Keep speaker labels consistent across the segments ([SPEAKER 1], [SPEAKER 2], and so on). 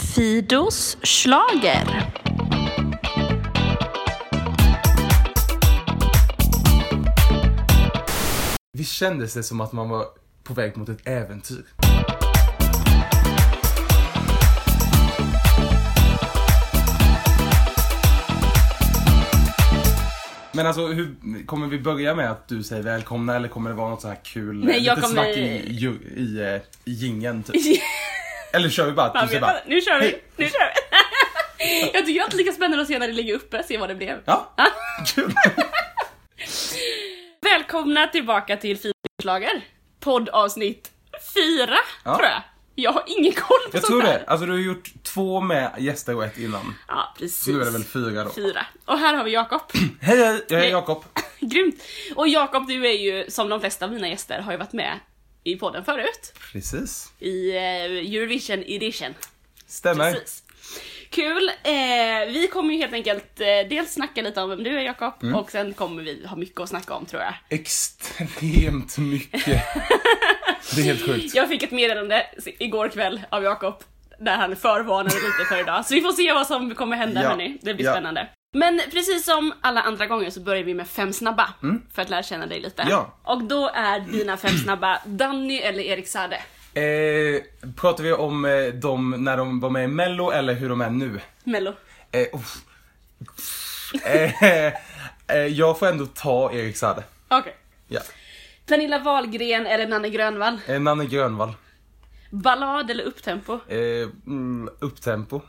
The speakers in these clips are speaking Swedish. [SPEAKER 1] Fidos schlager.
[SPEAKER 2] Visst kändes det som att man var på väg mot ett äventyr? Men alltså, hur, kommer vi börja med att du säger välkomna eller kommer det vara något så här kul,
[SPEAKER 3] Nej, jag
[SPEAKER 2] lite
[SPEAKER 3] kommer-
[SPEAKER 2] snack i, i, i, eh, i gingen typ? Eller kör vi bara att
[SPEAKER 3] Fan,
[SPEAKER 2] du säger
[SPEAKER 3] vet
[SPEAKER 2] bara,
[SPEAKER 3] jag. Nu kör vi!
[SPEAKER 2] Hej.
[SPEAKER 3] Nu kör vi! Jag tycker att det är lika spännande att se när det ligger uppe, se vad det blev.
[SPEAKER 2] ja, kul!
[SPEAKER 3] Välkomna tillbaka till Fidoslager, poddavsnitt fyra
[SPEAKER 2] Ja.
[SPEAKER 3] tror jag. Jag har ingen koll på
[SPEAKER 2] Jag
[SPEAKER 3] sånt
[SPEAKER 2] tror
[SPEAKER 3] här.
[SPEAKER 2] det. Alltså du har gjort två med gäster och ett innan.
[SPEAKER 3] Ja, precis.
[SPEAKER 2] Så nu är det väl fyra då.
[SPEAKER 3] Fyra. Och här har vi Jakob.
[SPEAKER 2] Hej, hej, jag är
[SPEAKER 3] Nej.
[SPEAKER 2] Jakob.
[SPEAKER 3] Grymt! Och Jakob, du är ju som de flesta av mina gäster har ju varit med i podden förut.
[SPEAKER 2] Precis.
[SPEAKER 3] I eh, Eurovision edition.
[SPEAKER 2] Stämmer.
[SPEAKER 3] Precis. Kul! Eh, vi kommer ju helt enkelt eh, dels snacka lite om vem du är Jakob
[SPEAKER 2] Mm.
[SPEAKER 3] och sen kommer vi ha mycket att snacka om tror jag.
[SPEAKER 2] Extremt mycket. Det är helt sjukt.
[SPEAKER 3] Jag fick ett meddelande igår kväll av Jakob där han förvarnade lite för idag. Så vi får se vad som kommer hända
[SPEAKER 2] Ja.
[SPEAKER 3] hörni. Det blir
[SPEAKER 2] Ja.
[SPEAKER 3] spännande. Men precis som alla andra gånger så börjar vi med fem snabba för att lära känna dig lite.
[SPEAKER 2] Mm. Ja.
[SPEAKER 3] Och då är dina fem snabba Danny eller Erik Sade.
[SPEAKER 2] Eh, pratar vi om eh, dem när de var med i mello eller hur de är nu?
[SPEAKER 3] Mello.
[SPEAKER 2] Eh, uff. eh, eh, jag får ändå ta Erik Saade.
[SPEAKER 3] Okej.
[SPEAKER 2] Ja.
[SPEAKER 3] Pernilla Wahlgren eller Nanne Grönvall.
[SPEAKER 2] Eh, Nanne Grönvall.
[SPEAKER 3] Ballad eller upptempo.
[SPEAKER 2] Eh, mm, upptempo.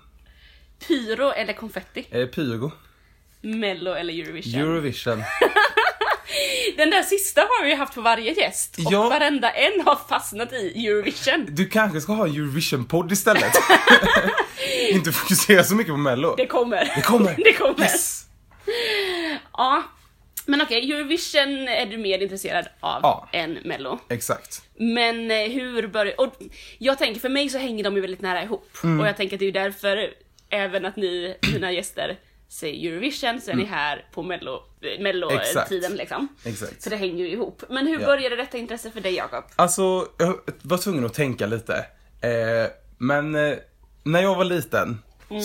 [SPEAKER 3] Pyro eller konfetti.
[SPEAKER 2] Eh, Pyro.
[SPEAKER 3] Mello eller Eurovision.
[SPEAKER 2] Eurovision.
[SPEAKER 3] Den där sista har vi haft på varje gäst och
[SPEAKER 2] Ja.
[SPEAKER 3] varenda en har fastnat i Eurovision.
[SPEAKER 2] Du kanske ska ha en Eurovision-podd istället? Inte fokusera så mycket på mello.
[SPEAKER 3] Det kommer.
[SPEAKER 2] Det kommer!
[SPEAKER 3] det kommer.
[SPEAKER 2] Yes!
[SPEAKER 3] Ja. Men okej, Eurovision är du mer intresserad av
[SPEAKER 2] Ja.
[SPEAKER 3] än Mello.
[SPEAKER 2] Exakt.
[SPEAKER 3] Men eh, hur börjar... Och jag tänker, för mig så hänger de ju väldigt nära ihop.
[SPEAKER 2] Mm.
[SPEAKER 3] Och jag tänker att det är ju därför även att ni, mina gäster, säger Eurovision så är ni här på Mello, eh,
[SPEAKER 2] Mm. Exakt.
[SPEAKER 3] Mello-tiden liksom.
[SPEAKER 2] Exakt.
[SPEAKER 3] Så det hänger ju ihop. Men hur
[SPEAKER 2] Ja.
[SPEAKER 3] började detta intresse för dig Jakob?
[SPEAKER 2] Alltså, jag var tvungen att tänka lite. Eh, men eh, när jag var liten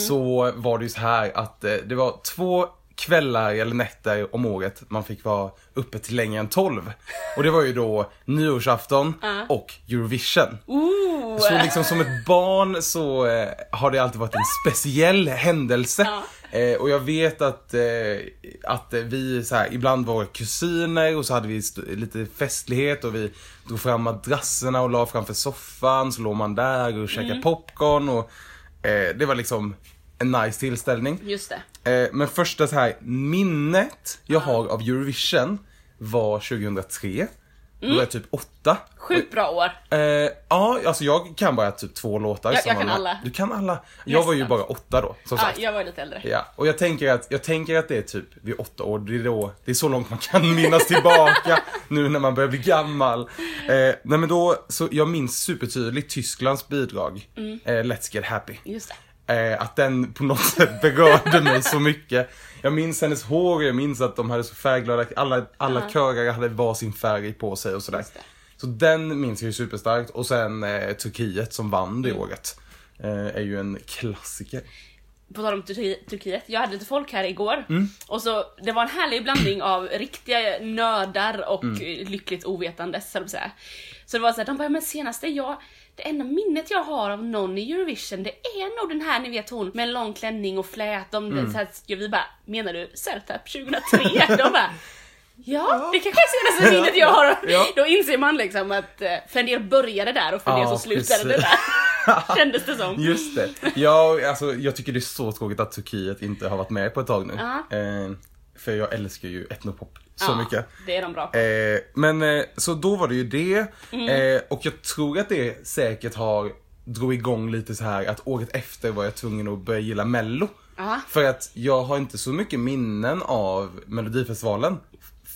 [SPEAKER 2] så var det ju så här att eh, det var två kvällar eller nätter om året man fick vara uppe till längre än 12. Och det var ju då nyårsafton och Eurovision.
[SPEAKER 3] Ooh.
[SPEAKER 2] Så liksom som ett barn så eh, har det alltid varit en speciell händelse. Eh, och jag vet att, eh, att eh, vi så här, ibland var kusiner och så hade vi st- lite festlighet och vi drog fram madrasserna och la framför soffan så låg man där och käkade popcorn och eh, det var liksom en nice tillställning.
[SPEAKER 3] Just det.
[SPEAKER 2] Eh, men första så här minnet jag har av Eurovision var 2003. Då var jag typ åtta.
[SPEAKER 3] Sjukt bra år.
[SPEAKER 2] Eh, ja, alltså jag kan bara typ två låtar.
[SPEAKER 3] Jag-
[SPEAKER 2] som
[SPEAKER 3] jag
[SPEAKER 2] man-
[SPEAKER 3] kan alla.
[SPEAKER 2] Du kan alla. Jag var ju
[SPEAKER 3] Nästan.
[SPEAKER 2] bara åtta då, som
[SPEAKER 3] Ja,
[SPEAKER 2] sagt.
[SPEAKER 3] jag var ju lite äldre.
[SPEAKER 2] Ja, och jag tänker, att, jag tänker att det är typ vid åtta år, det är, då, det är så långt man kan minnas tillbaka nu när man börjar bli gammal. Eh, nej men då, så jag minns supertydligt Tysklands bidrag,
[SPEAKER 3] Mm.
[SPEAKER 2] eh, Let's Get Happy.
[SPEAKER 3] Just det.
[SPEAKER 2] Eh, att den på något sätt berörde mig så mycket. Jag minns hennes hår, jag minns att de hade så färgglada, alla, alla körare hade varsin färg på sig och sådär.
[SPEAKER 3] Just det.
[SPEAKER 2] Så den minns jag ju superstarkt och sen eh, Turkiet som vann
[SPEAKER 3] Mm.
[SPEAKER 2] det året. Eh, är ju en klassiker.
[SPEAKER 3] På tal om Turki- Turkiet, jag hade lite folk här igår
[SPEAKER 2] Mm.
[SPEAKER 3] och så det var en härlig blandning av riktiga nördar och
[SPEAKER 2] Mm.
[SPEAKER 3] eh, lyckligt ovetande så att säga. Så det var så här, de bara, men senaste jag, det enda minnet jag har av någon i Eurovision det är nog den här ni vet hon med en lång klänning och flät. De,
[SPEAKER 2] Mm.
[SPEAKER 3] så här, ja, vi bara, menar du Sertap 2003? de bara, Ja, det kanske är senaste minnet jag har.
[SPEAKER 2] Ja.
[SPEAKER 3] Då inser man liksom att eh, för en del började där och för en del så
[SPEAKER 2] Ja,
[SPEAKER 3] slutade det
[SPEAKER 2] precis.
[SPEAKER 3] där. Kändes det som.
[SPEAKER 2] Just det. Jag, alltså, jag tycker det är så tråkigt att Turkiet inte har varit med på ett tag nu.
[SPEAKER 3] Ja.
[SPEAKER 2] Eh, för jag älskar ju etnopop så
[SPEAKER 3] Ja,
[SPEAKER 2] mycket.
[SPEAKER 3] Det är de bra på.
[SPEAKER 2] Eh, men eh, så då var det ju det.
[SPEAKER 3] Mm.
[SPEAKER 2] Eh, och jag tror att det säkert har drog igång lite så här att året efter var jag tvungen att börja gilla mello.
[SPEAKER 3] Ja.
[SPEAKER 2] För att jag har inte så mycket minnen av melodifestivalen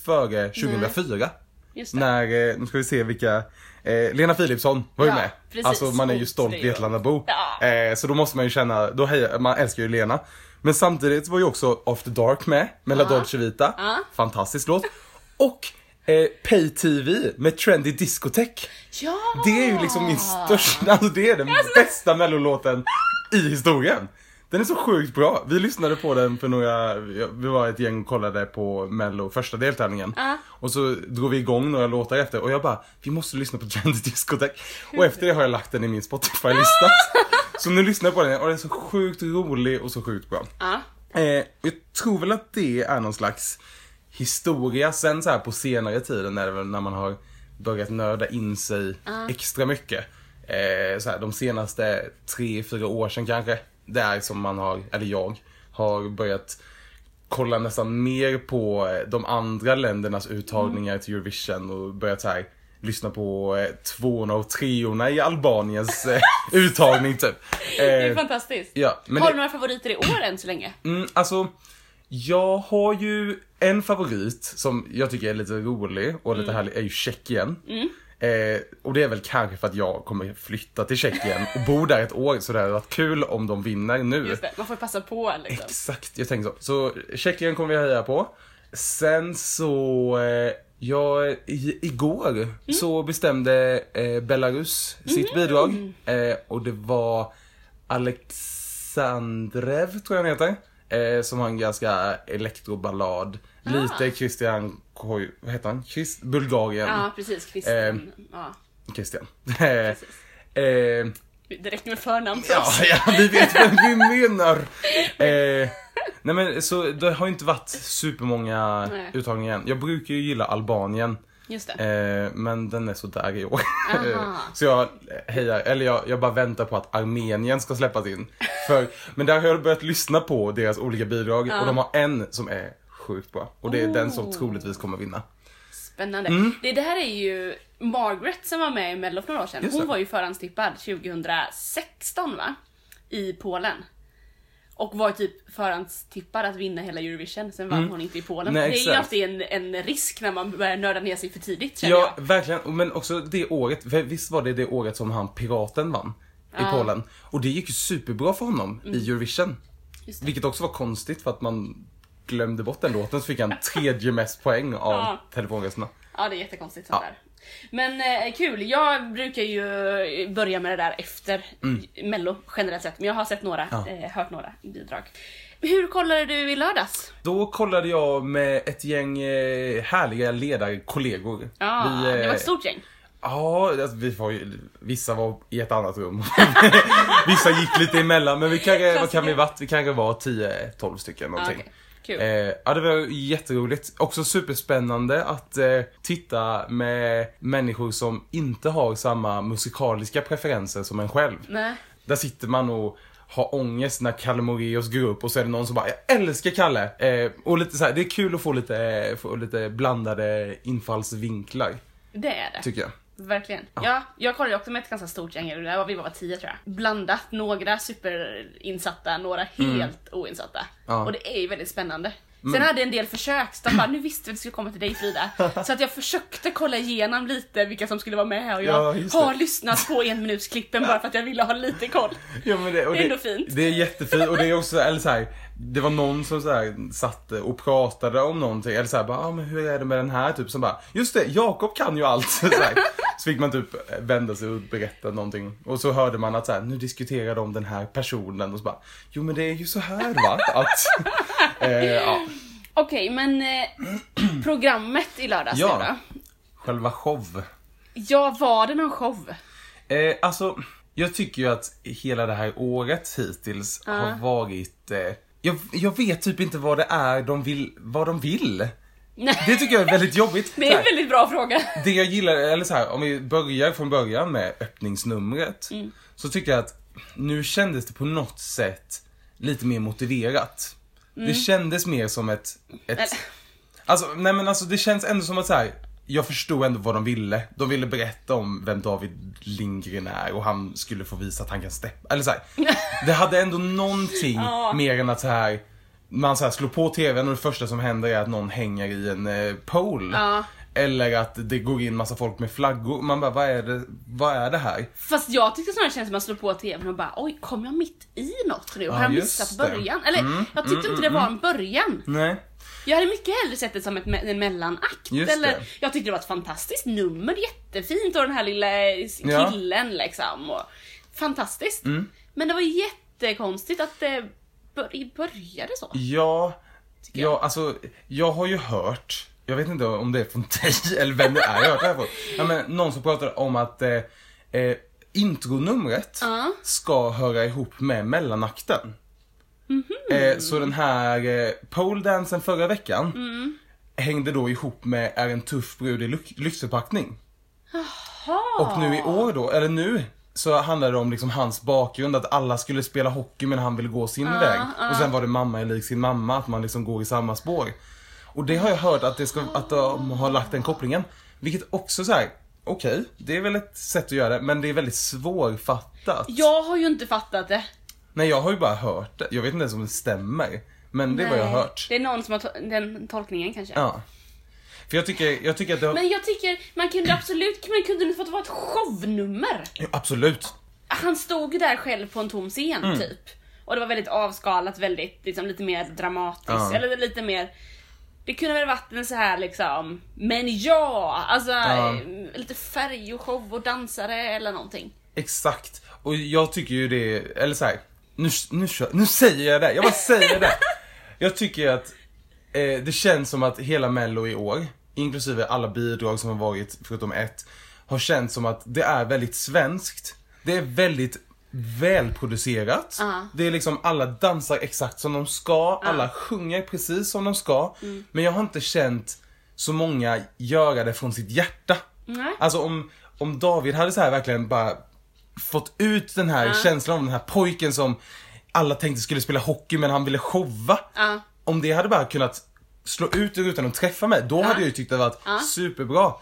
[SPEAKER 2] före 2004.
[SPEAKER 3] Just det.
[SPEAKER 2] När, eh, nu ska vi se vilka, eh, Lena Philipsson var ju
[SPEAKER 3] Ja,
[SPEAKER 2] med.
[SPEAKER 3] precis.
[SPEAKER 2] Alltså man är ju
[SPEAKER 3] Och
[SPEAKER 2] stolt
[SPEAKER 3] Sverige.
[SPEAKER 2] Vetlandabo.
[SPEAKER 3] Ja.
[SPEAKER 2] Eh, så då måste man ju känna, då hejar, man älskar ju Lena. Men samtidigt var ju också After Dark med, med La Dolce Vita.
[SPEAKER 3] Ja.
[SPEAKER 2] Fantastisk låt. Och eh, Pay TV med Trendy Discotech.
[SPEAKER 3] Ja!
[SPEAKER 2] liksom Det är ju liksom min största, alltså det är den bästa mellolåten i historien. Den är så sjukt bra. Vi lyssnade på den för några, vi var ett gäng och kollade på mello första deltävlingen.
[SPEAKER 3] Ja.
[SPEAKER 2] Och så drog vi igång några låtar efter och jag bara, vi måste lyssna på Janet Discotheque. Och efter det har jag lagt den i min Spotify-lista. så nu lyssnar jag på den och den är så sjukt rolig och så sjukt bra.
[SPEAKER 3] Ja.
[SPEAKER 2] Eh, jag tror väl att det är någon slags historia. Sen så här på senare tiden är det väl när man har börjat nörda in sig extra mycket. Eh, så här, de senaste tre, fyra år sedan kanske. Det är som man har, eller jag, har börjat kolla nästan mer på eh, de andra ländernas uttagningar
[SPEAKER 3] Mm.
[SPEAKER 2] till Eurovision och börjat så här lyssna på eh, tvåorna och treorna i Albaniens eh, uttagning typ.
[SPEAKER 3] Det är
[SPEAKER 2] Eh,
[SPEAKER 3] fantastiskt.
[SPEAKER 2] ja, men
[SPEAKER 3] Har
[SPEAKER 2] det-
[SPEAKER 3] du några favoriter i år än så länge?
[SPEAKER 2] Mm, alltså, jag har ju en favorit som jag tycker är lite rolig och lite härlig, är ju Tjeckien. Eh, och det är väl kanske för att jag kommer flytta till Tjeckien och bo där ett år så det hade varit kul om de vinner nu.
[SPEAKER 3] Just det, man får ju passa på liksom.
[SPEAKER 2] Exakt, jag tänker så. Så Tjeckien kommer vi heja på. Sen så, eh, jag, i, igår så bestämde eh, Belarus sitt bidrag. Eh, och det var Alexandrev, tror jag han heter. Eh, som har en ganska elektroballad. Lite Christian, Koi- vad heter han? Chris, Bulgarien.
[SPEAKER 3] Ja, precis.
[SPEAKER 2] Ehm.
[SPEAKER 3] Kristen. Ja,
[SPEAKER 2] Christian. Eh, eh,
[SPEAKER 3] det räcker med förnamn för
[SPEAKER 2] Ja,
[SPEAKER 3] oss.
[SPEAKER 2] ja, vi vet vem vi menar. Eh, nej men så det har ju inte varit supermånga
[SPEAKER 3] Nej.
[SPEAKER 2] uttagningar än. Jag brukar ju gilla Albanien.
[SPEAKER 3] Just det.
[SPEAKER 2] Eh, men den är så där i år.
[SPEAKER 3] Aha.
[SPEAKER 2] Eh, så jag hejar, eller jag, jag bara väntar på att Armenien ska släppas in. För, men där har jag börjat lyssna på deras olika bidrag och de har en som är sjukt bra. Och det är den som
[SPEAKER 3] Oh.
[SPEAKER 2] troligtvis kommer vinna.
[SPEAKER 3] Spännande.
[SPEAKER 2] Mm.
[SPEAKER 3] Det, det här är ju Margaret som var med i Mello för några år sedan.
[SPEAKER 2] Just det.
[SPEAKER 3] Hon var ju förhandstippad 2016 va? I Polen. Och var typ förhandstippad att vinna hela Eurovision, sen vann hon inte i Polen.
[SPEAKER 2] Mm. Nej,
[SPEAKER 3] det är ju
[SPEAKER 2] exakt.
[SPEAKER 3] alltid en, en risk när man börjar nörda ner sig för tidigt känner
[SPEAKER 2] Ja, verkligen. Men också det året, för visst var det det året som han Piraten vann i Polen? Och det gick ju superbra för honom i Eurovision.
[SPEAKER 3] Mm. Just det.
[SPEAKER 2] Vilket också var konstigt för att man glömde bort den låten så fick han tredje mest poäng av
[SPEAKER 3] Ja.
[SPEAKER 2] telefonrösterna.
[SPEAKER 3] Ja, det är jättekonstigt sånt där. Men eh, kul, jag brukar ju börja med det där efter mello generellt sett. Men jag har sett några,
[SPEAKER 2] Mm. Ja.
[SPEAKER 3] eh, hört några bidrag. Hur kollade du i lördags?
[SPEAKER 2] Då kollade jag med ett gäng eh, härliga ledarkollegor.
[SPEAKER 3] Ja,
[SPEAKER 2] Vi, eh,
[SPEAKER 3] det var ett stort gäng.
[SPEAKER 2] Ja, alltså, vi var ju, vissa var i ett annat rum. vissa gick lite emellan men vi kanske, vad kan vi varit? Vi kanske var 10-12 stycken någonting.
[SPEAKER 3] Ah, okej. Kul.
[SPEAKER 2] Eh, ja, det var jätteroligt. Också superspännande att eh, titta med människor som inte har samma musikaliska preferenser som en själv.
[SPEAKER 3] Nej.
[SPEAKER 2] Där sitter man och har ångest när Kalle Moraeus går upp och så är det någon som bara “Jag älskar Kalle!” eh, Och lite så här, det är kul att få lite, få lite blandade infallsvinklar,
[SPEAKER 3] Det är det.
[SPEAKER 2] tycker jag.
[SPEAKER 3] Verkligen. Ja. jag kollade också med ett ganska stort gäng, eller där var vi bara tio tror jag. Blandat, några superinsatta, några helt oinsatta.
[SPEAKER 2] Mm. Ja.
[SPEAKER 3] Och det är ju väldigt spännande. Sen hade jag en del försök, så de bara nu visste vi att det skulle komma till dig Frida. Så att jag försökte kolla igenom lite vilka som skulle vara med och
[SPEAKER 2] Ja,
[SPEAKER 3] jag
[SPEAKER 2] just det.
[SPEAKER 3] har lyssnat på enminutsklippen bara för att jag ville ha lite koll.
[SPEAKER 2] Ja, men det, och
[SPEAKER 3] Det är ändå fint.
[SPEAKER 2] Det är jättefint och det är också, eller så här, det var någon som så här, satt och pratade om någonting eller så här, bara, ah, men hur är det med den här typ som bara, just det, Jakob kan ju allt. Så, här. så fick man typ vända sig och berätta någonting och så hörde man att så här, nu diskuterar de den här personen och så bara, jo men det är ju så här va, att, eh, ja,
[SPEAKER 3] Okej, men eh, programmet i lördags
[SPEAKER 2] Ja.
[SPEAKER 3] nu då?
[SPEAKER 2] själva show.
[SPEAKER 3] Ja, var det någon show?
[SPEAKER 2] Eh, alltså, jag tycker ju att hela det här året hittills har varit... Eh, jag, jag vet typ inte vad det är de vill, vad de vill.
[SPEAKER 3] Nej.
[SPEAKER 2] Det tycker jag är väldigt jobbigt.
[SPEAKER 3] Det
[SPEAKER 2] Så
[SPEAKER 3] är
[SPEAKER 2] här,
[SPEAKER 3] en väldigt bra fråga.
[SPEAKER 2] det jag gillar, eller så här, om vi börjar från början med öppningsnumret.
[SPEAKER 3] Mm.
[SPEAKER 2] Så tycker jag att nu kändes det på något sätt lite mer motiverat. Det kändes mer som ett... ett
[SPEAKER 3] Mm. Eller-
[SPEAKER 2] alltså, nej men alltså det känns ändå som att så här. Jag förstod ändå vad de ville. De ville berätta om vem David Lindgren är och han skulle få visa att han kan steppa. Eller så här. Det hade ändå någonting mer än att så här. Man så här slår på tvn och det första som händer är att någon hänger i en eh, pole.
[SPEAKER 3] Ja.
[SPEAKER 2] Eller att det går in massa folk med flaggor. Man bara, vad är det, vad är det här?
[SPEAKER 3] Fast jag tyckte snarare det känns som att man slår på tvn och bara oj, kom jag mitt i något nu? Har jag
[SPEAKER 2] just
[SPEAKER 3] missat
[SPEAKER 2] det. Mm,
[SPEAKER 3] början? Eller jag tyckte inte det var en början.
[SPEAKER 2] Nej.
[SPEAKER 3] Jag hade mycket hellre sett det som ett, me- en mellanakt.
[SPEAKER 2] Just
[SPEAKER 3] eller,
[SPEAKER 2] det.
[SPEAKER 3] Jag tyckte det var ett fantastiskt nummer, jättefint och den här lilla eh, s-
[SPEAKER 2] Ja. Mm.
[SPEAKER 3] killen liksom. Och, fantastiskt. Men det var jätte jättekonstigt att det bör- började så.
[SPEAKER 2] Ja,
[SPEAKER 3] jag.
[SPEAKER 2] ja, alltså, jag har ju hört, jag vet inte om det är från dig eller vem det är jag har hört det här från. Ja, men någon som pratar om att eh, eh, intronumret
[SPEAKER 3] Ja.
[SPEAKER 2] ska höra ihop med mellanakten.
[SPEAKER 3] Mhm.
[SPEAKER 2] Eh, så den här eh, poledansen förra veckan
[SPEAKER 3] Mm.
[SPEAKER 2] hängde då ihop med Är en tuff brud i lyx- lyxförpackning. Och nu i år då, eller nu, så handlade det om liksom hans bakgrund, att alla skulle spela hockey men han ville gå sin väg. Och sen var det mamma är lik sin mamma, att man liksom går i samma spår. Och det har jag hört att, det ska, att de har lagt den kopplingen. Vilket också så här, okej, det är väl ett sätt att göra det, men det är väldigt svårfattat.
[SPEAKER 3] Jag har ju inte fattat det.
[SPEAKER 2] Nej, jag har ju bara hört det. Jag vet inte ens om det stämmer. Men det är vad jag har
[SPEAKER 3] Nej.
[SPEAKER 2] hört.
[SPEAKER 3] Det är någon som har to- den tolkningen kanske.
[SPEAKER 2] Ja. För jag tycker, jag tycker att det har...
[SPEAKER 3] Men jag tycker man kunde absolut, man kunde inte fått vara ett shownummer.
[SPEAKER 2] Ja, Absolut.
[SPEAKER 3] Han stod ju där själv på en tom scen
[SPEAKER 2] Mm.
[SPEAKER 3] typ. Och det var väldigt avskalat, väldigt liksom, lite mer dramatiskt.
[SPEAKER 2] Ja.
[SPEAKER 3] Eller lite mer... Det kunde väl varit en så här liksom, men ja! Alltså
[SPEAKER 2] Ja.
[SPEAKER 3] eh, lite färg och show och dansare eller någonting.
[SPEAKER 2] Exakt. Och jag tycker ju det, eller så här, nu, nu, kör- nu säger jag det, jag bara säger det. Jag tycker att eh, det känns som att hela mello i år, inklusive alla bidrag som har varit förutom ett, har känts som att det är väldigt svenskt. Det är väldigt välproducerat.
[SPEAKER 3] Ja.
[SPEAKER 2] Det är liksom alla dansar exakt som de ska, alla sjunger precis som de ska.
[SPEAKER 3] Mm.
[SPEAKER 2] Men jag har inte känt så många göra det från sitt hjärta.
[SPEAKER 3] Nej.
[SPEAKER 2] Alltså om, om David hade så här verkligen bara fått ut den här känslan om den här pojken som alla tänkte skulle spela hockey men han ville showa.
[SPEAKER 3] Ja.
[SPEAKER 2] Om det hade bara kunnat slå ut det utan att träffa mig, då hade jag ju tyckt det varit superbra.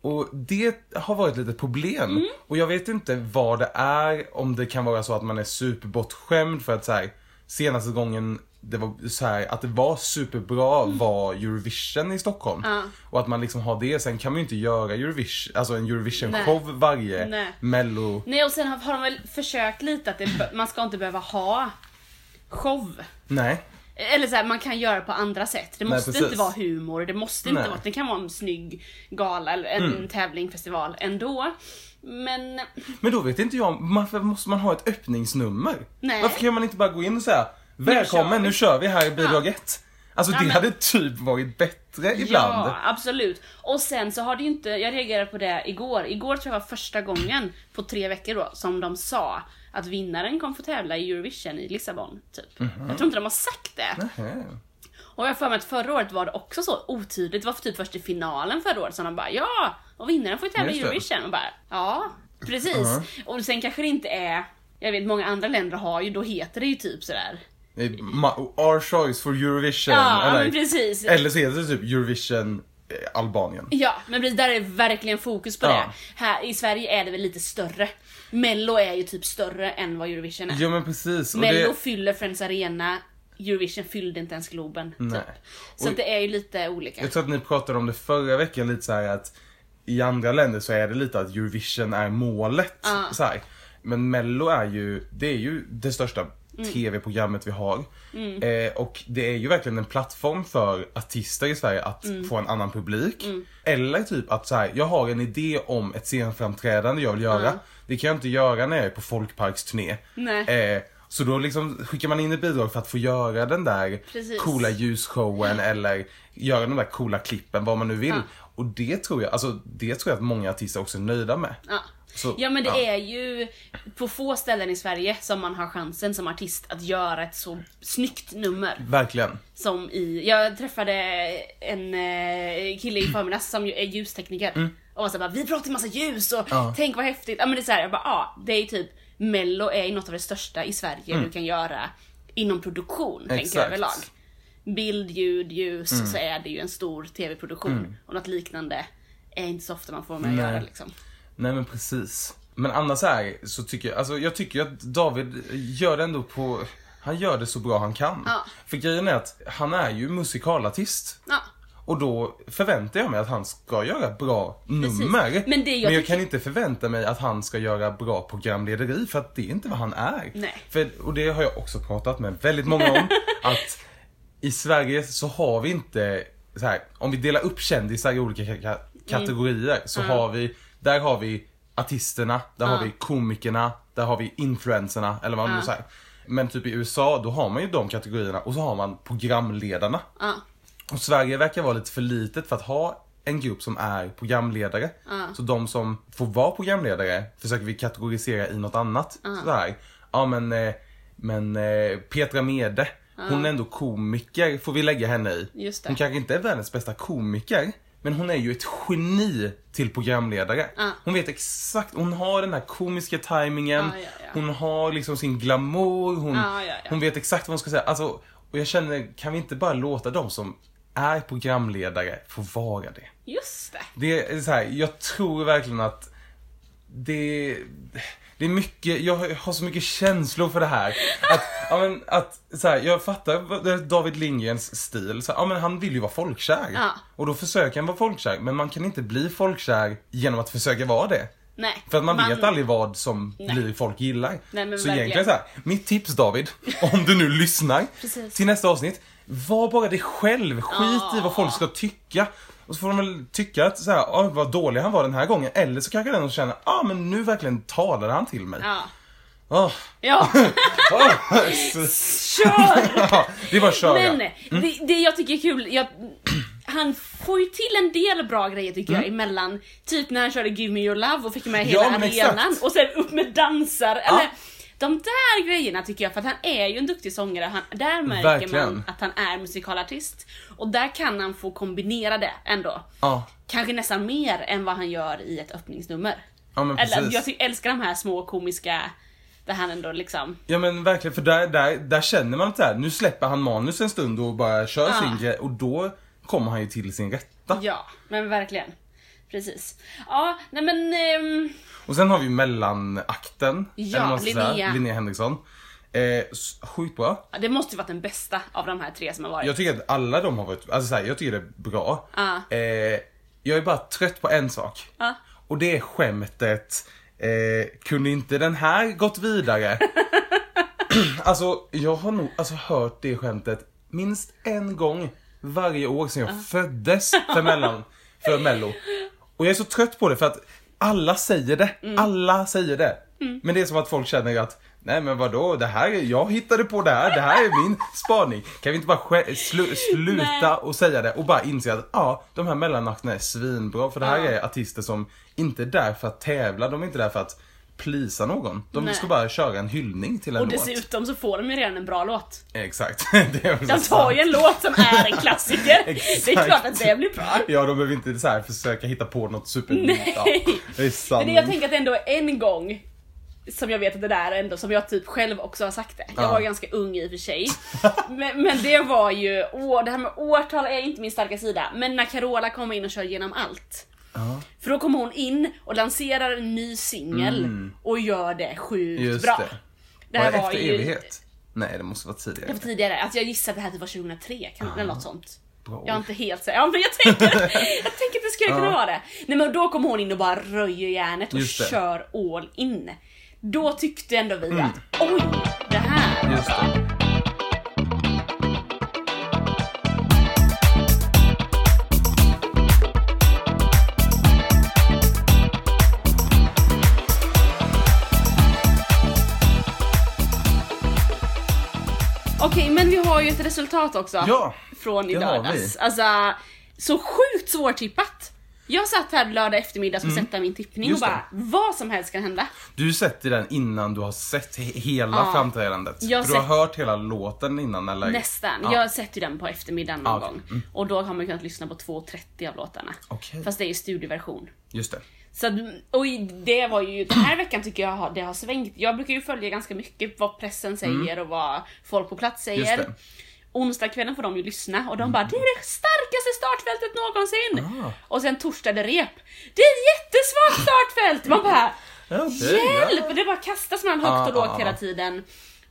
[SPEAKER 2] Och det har varit lite problem.
[SPEAKER 3] Mm.
[SPEAKER 2] Och jag vet inte vad det är, om det kan vara så att man är superbortskämd för att så här, senaste gången det var så här, att det var superbra var Eurovision i Stockholm.
[SPEAKER 3] Mm. Ja.
[SPEAKER 2] Och att man liksom har det, sen kan man ju inte göra Eurovision, alltså en Eurovision-show
[SPEAKER 3] Nej.
[SPEAKER 2] varje
[SPEAKER 3] Nej.
[SPEAKER 2] mello...
[SPEAKER 3] Nej och sen har, har de väl försökt lite att det, man ska inte behöva ha show.
[SPEAKER 2] Nej.
[SPEAKER 3] Eller så här, man kan göra på andra sätt. Det
[SPEAKER 2] Nej,
[SPEAKER 3] måste
[SPEAKER 2] precis.
[SPEAKER 3] inte vara humor, det måste inte
[SPEAKER 2] Nej. Mm.
[SPEAKER 3] vara, det kan vara en snygg gala eller en tävling, festival ändå. Men
[SPEAKER 2] Men då vet inte jag, om- varför måste man ha ett öppningsnummer?
[SPEAKER 3] Nej.
[SPEAKER 2] Varför kan man inte bara gå in och säga
[SPEAKER 3] kör
[SPEAKER 2] Välkommen,
[SPEAKER 3] vi."
[SPEAKER 2] nu kör vi här i bidrag 1. Alltså det
[SPEAKER 3] men-
[SPEAKER 2] hade typ varit bättre ibland.
[SPEAKER 3] Ja, absolut. Och sen så har det ju inte, jag reagerade på det igår. Igår tror jag var första gången på tre veckor då som de sa att vinnaren kom få tävla i Eurovision i Lissabon. Typ. Jag tror inte de har sagt det.
[SPEAKER 2] Mhm. Nej.
[SPEAKER 3] Och jag har för mig att förra året var det också så otydligt. Det var typ först i finalen förra året som de bara ja, och vinnaren får ju tävla i
[SPEAKER 2] Just det.
[SPEAKER 3] Eurovision. Och bara ja, precis. Och sen kanske det inte är, jag vet många andra länder har ju, då heter det ju typ sådär.
[SPEAKER 2] Det är ma- Our choice for Eurovision.
[SPEAKER 3] Ja,
[SPEAKER 2] eller,
[SPEAKER 3] men precis.
[SPEAKER 2] eller så heter det typ Eurovision eh, Albanien.
[SPEAKER 3] Ja, men precis, där är det verkligen fokus på
[SPEAKER 2] Ja.
[SPEAKER 3] det. Här i Sverige är det väl lite större. Mello är ju typ större än vad Eurovision är.
[SPEAKER 2] Ja men precis. Och
[SPEAKER 3] Mello
[SPEAKER 2] det...
[SPEAKER 3] fyller Friends Arena, Eurovision fyllde inte ens Globen.
[SPEAKER 2] Nej.
[SPEAKER 3] Typ. Så
[SPEAKER 2] Och-
[SPEAKER 3] att det är ju lite olika.
[SPEAKER 2] Jag tror att ni pratade om det förra veckan lite så här att i andra länder så är det lite att Eurovision är målet.
[SPEAKER 3] Ja.
[SPEAKER 2] Så här. Men mello är ju, det är ju det största
[SPEAKER 3] Mm.
[SPEAKER 2] tv-programmet vi har. Eh, och det är ju verkligen en plattform för artister i Sverige att
[SPEAKER 3] Mm.
[SPEAKER 2] få en annan publik. Eller typ att så här, jag har en idé om ett scenframträdande jag vill göra. Det kan jag inte göra när jag är på folkparksturné.
[SPEAKER 3] Nej.
[SPEAKER 2] Eh, så då liksom skickar man in ett bidrag för att få göra den där
[SPEAKER 3] Precis.
[SPEAKER 2] coola ljusshowen eller göra de där coola klippen, vad man nu vill.
[SPEAKER 3] Ja.
[SPEAKER 2] Och det tror jag, alltså det tror jag att många artister också är nöjda med.
[SPEAKER 3] Ja.
[SPEAKER 2] Så-
[SPEAKER 3] ja men det
[SPEAKER 2] ja.
[SPEAKER 3] är ju på få ställen i Sverige som man har chansen som artist att göra ett så snyggt nummer.
[SPEAKER 2] Verkligen.
[SPEAKER 3] Som i, jag träffade en eh, kille i förmiddags som ju är ljustekniker. Och var så här bara, vi pratar massa ljus och
[SPEAKER 2] Mm. Ja.
[SPEAKER 3] tänk vad häftigt. Ja men det är så här, jag bara, ja det är ju typ Mello är ju något av det största i Sverige du kan göra inom produktion, tänker jag
[SPEAKER 2] Mm. Exakt. Mm.
[SPEAKER 3] överlag. Bild, ljud, ljus så är det ju en stor tv-produktion. Och något liknande är inte så ofta man får med att
[SPEAKER 2] Nej.
[SPEAKER 3] göra liksom.
[SPEAKER 2] Nej men precis. Men annars här så tycker jag, alltså jag tycker ju att David gör det ändå på, han gör det så bra han kan.
[SPEAKER 3] Ja.
[SPEAKER 2] För grejen är att han är ju musikalartist.
[SPEAKER 3] Ja.
[SPEAKER 2] Och då förväntar jag mig att han ska göra bra nummer.
[SPEAKER 3] Men det jag
[SPEAKER 2] jag
[SPEAKER 3] tycker-
[SPEAKER 2] kan inte förvänta mig att han ska göra bra programlederi för att det är inte vad han är.
[SPEAKER 3] Nej.
[SPEAKER 2] För, och det har jag också pratat med väldigt många om. att i Sverige så har vi inte, så här, om vi delar upp kändisar i olika ka- ka-
[SPEAKER 3] Mm.
[SPEAKER 2] kategorier så har vi, där har vi artisterna, där har vi komikerna, där har vi influencerna eller vad man nu
[SPEAKER 3] Ja.
[SPEAKER 2] säger. Men typ i USA, då har man ju de kategorierna och så har man programledarna.
[SPEAKER 3] Ja.
[SPEAKER 2] Och Sverige verkar vara lite för litet för att ha en grupp som är programledare. Så de som får vara programledare försöker vi kategorisera i något annat. Så här, ja men, eh, men eh, Petra Mede, hon är ändå komiker får vi lägga henne i.
[SPEAKER 3] Just det.
[SPEAKER 2] Hon kanske inte är världens bästa komiker. Men hon är ju ett geni till programledare.
[SPEAKER 3] Ja.
[SPEAKER 2] Hon vet exakt, hon har den här komiska tajmingen.
[SPEAKER 3] Ja, ja, ja.
[SPEAKER 2] Hon har liksom sin glamour. Hon,
[SPEAKER 3] Ah, Ja, ja, ja.
[SPEAKER 2] Mm. hon vet exakt vad hon ska säga. Alltså, och jag känner, kan vi inte bara låta de som är programledare få vara det?
[SPEAKER 3] Just det.
[SPEAKER 2] Det är så här, jag tror verkligen att det, det är mycket, jag har- jag har så mycket känslor för det här. Att, ja, men, att så här, jag fattar vad- David Lindgrens stil, så här, ja, men han vill ju vara folkkär.
[SPEAKER 3] Ja.
[SPEAKER 2] Och då försöker han vara folkkär, men man kan inte bli folkkär genom att försöka vara det.
[SPEAKER 3] Nej.
[SPEAKER 2] För att man, vet aldrig vad som blir folk gillar.
[SPEAKER 3] Nej, men
[SPEAKER 2] så
[SPEAKER 3] verkligen.
[SPEAKER 2] egentligen så här, mitt tips David, om du nu lyssnar
[SPEAKER 3] Precis.
[SPEAKER 2] till nästa avsnitt. Var bara dig själv, skit i vad folk ska tycka. Och så får de väl tycka att så här, ah, vad dålig han var den här gången. Eller så kanske den känner, ah men nu verkligen talade han till mig.
[SPEAKER 3] Ja.
[SPEAKER 2] Ah,
[SPEAKER 3] Ja,
[SPEAKER 2] ah, så-
[SPEAKER 3] kör!
[SPEAKER 2] ja, det är bara att köra.
[SPEAKER 3] Men
[SPEAKER 2] Mm.
[SPEAKER 3] det, det jag tycker är kul, jag, han får ju till en del bra grejer tycker jag emellan. Typ när han körde Give Me Your Love och fick med hela
[SPEAKER 2] Mm. Ja, men
[SPEAKER 3] arenan
[SPEAKER 2] exakt.
[SPEAKER 3] och sen upp med dansar. Eller, de där grejerna tycker jag, för att han är ju en duktig sångare. Han, där märker
[SPEAKER 2] Verkligen.
[SPEAKER 3] man att han är musikalartist. Och där kan han få kombinera det ändå.
[SPEAKER 2] Ja,
[SPEAKER 3] Kanske nästan mer än vad han gör i ett öppningsnummer.
[SPEAKER 2] ja men
[SPEAKER 3] Eller, jag
[SPEAKER 2] precis.
[SPEAKER 3] ty- älskar de här små komiska, där han ändå liksom
[SPEAKER 2] Ja men verkligen, för där, där, där känner man att så här, nu släpper han manus en stund och bara kör
[SPEAKER 3] Ja.
[SPEAKER 2] sin grej. Och då kommer han ju till sin rätta.
[SPEAKER 3] Ja, men verkligen. Precis. Ja, nej men... ehm,
[SPEAKER 2] Och sen har vi ju mellanakten.
[SPEAKER 3] Ja,
[SPEAKER 2] eller vad man ska säga,
[SPEAKER 3] Linnea.
[SPEAKER 2] Linnea Henriksson. Eh, s- sjukt bra.
[SPEAKER 3] ja, det måste ju varit den bästa av de här tre som har varit.
[SPEAKER 2] Jag tycker att alla de har varit, alltså så här, jag tycker det är bra.
[SPEAKER 3] Ja.
[SPEAKER 2] Eh, jag är bara trött på en sak.
[SPEAKER 3] Ja.
[SPEAKER 2] Och det är skämtet, eh, kunde inte den här gått vidare? alltså jag har nog alltså, hört det skämtet minst en gång varje år sedan jag föddes för, mellan, för mello. Och jag är så trött på det för att alla säger det,
[SPEAKER 3] Mm.
[SPEAKER 2] alla säger det. Men det är som att folk känner att Nej men vadå, det här, är- jag hittade på det här, det här är min spaning. Kan vi inte bara skä- slu-
[SPEAKER 3] Nej.
[SPEAKER 2] sluta och säga det och bara inse att ja, de här mellanakterna är svinbra för det här
[SPEAKER 3] Ja.
[SPEAKER 2] är artister som inte är där för att tävla, de är inte där för att plisa någon. De
[SPEAKER 3] Nej.
[SPEAKER 2] ska bara köra en hyllning till en
[SPEAKER 3] Och
[SPEAKER 2] låt.
[SPEAKER 3] dessutom så får de ju redan en bra låt.
[SPEAKER 2] Exakt. Det är också
[SPEAKER 3] De tar ju en låt som är en klassiker.
[SPEAKER 2] Exakt.
[SPEAKER 3] det är klart att det blir bra.
[SPEAKER 2] sant. Ja, de behöver inte så här försöka hitta på något supernytt. Ja, det är sant.
[SPEAKER 3] Men det jag tänker att det ändå är en gång som jag vet att det där är ändå, som jag typ själv också har sagt det. Jag
[SPEAKER 2] Ja.
[SPEAKER 3] var ganska ung i och för sig. Men, men det var ju, åh, det här med årtal är inte min starka sida. Men när Carola kom in och körde genom allt.
[SPEAKER 2] Ja.
[SPEAKER 3] För då kommer hon in och lanserar en ny singel och gör det sjukt
[SPEAKER 2] Mm. Just
[SPEAKER 3] bra.
[SPEAKER 2] det.
[SPEAKER 3] Det
[SPEAKER 2] var
[SPEAKER 3] här
[SPEAKER 2] det
[SPEAKER 3] var
[SPEAKER 2] efter
[SPEAKER 3] ju-
[SPEAKER 2] evighet? Nej, det måste vara
[SPEAKER 3] Det
[SPEAKER 2] tidigare.
[SPEAKER 3] var tidigare, alltså jag gissar att det här typ var 2003 kan, eller något sånt.
[SPEAKER 2] Bra
[SPEAKER 3] Jag är
[SPEAKER 2] år.
[SPEAKER 3] inte helt säker. Ja men jag tänker, jag tänker att det skulle kunna
[SPEAKER 2] Ja.
[SPEAKER 3] vara det. Nej men då kommer hon in och bara röjer järnet och
[SPEAKER 2] Just det. Mm.
[SPEAKER 3] kör all in. Då tyckte ändå vi att oj, det här.
[SPEAKER 2] Just det.
[SPEAKER 3] Okej men vi har ju ett resultat också.
[SPEAKER 2] Ja,
[SPEAKER 3] Från i
[SPEAKER 2] det har vi.
[SPEAKER 3] lördags. Alltså, så sjukt svårtippat. Jag satt här lördag eftermiddag och skulle sätta min tippning
[SPEAKER 2] Mm. Just
[SPEAKER 3] och bara vad som helst kan hända.
[SPEAKER 2] Du sätter den innan du har sett he- hela
[SPEAKER 3] Ja.
[SPEAKER 2] framträdandet.
[SPEAKER 3] Jag
[SPEAKER 2] För du har
[SPEAKER 3] sett-
[SPEAKER 2] hört hela låten innan eller?
[SPEAKER 3] Nästan.
[SPEAKER 2] Ja.
[SPEAKER 3] Jag sätter ju den på eftermiddagen någon
[SPEAKER 2] Ah, okej.
[SPEAKER 3] gång. Och då har man kunnat lyssna på 2.30 av låtarna.
[SPEAKER 2] Okej.
[SPEAKER 3] Fast det är ju studioversion.
[SPEAKER 2] Just det.
[SPEAKER 3] Så att, och i- det var ju, den här veckan tycker jag har, det har svängt. Jag brukar ju följa ganska mycket vad pressen säger och vad folk på plats
[SPEAKER 2] Mm. Just
[SPEAKER 3] säger.
[SPEAKER 2] det. Mm.
[SPEAKER 3] Onsdagskvällen får de ju lyssna och de bara det är det starkaste startfältet någonsin!
[SPEAKER 2] Ah.
[SPEAKER 3] Och sen torsdag det rep. Det är ett jättesvagt startfält! Man bara
[SPEAKER 2] Ja, det är- ja.
[SPEAKER 3] Hjälp! Det bara kastas mellan
[SPEAKER 2] Ah,
[SPEAKER 3] högt och lågt
[SPEAKER 2] ah,
[SPEAKER 3] hela
[SPEAKER 2] ah.
[SPEAKER 3] tiden.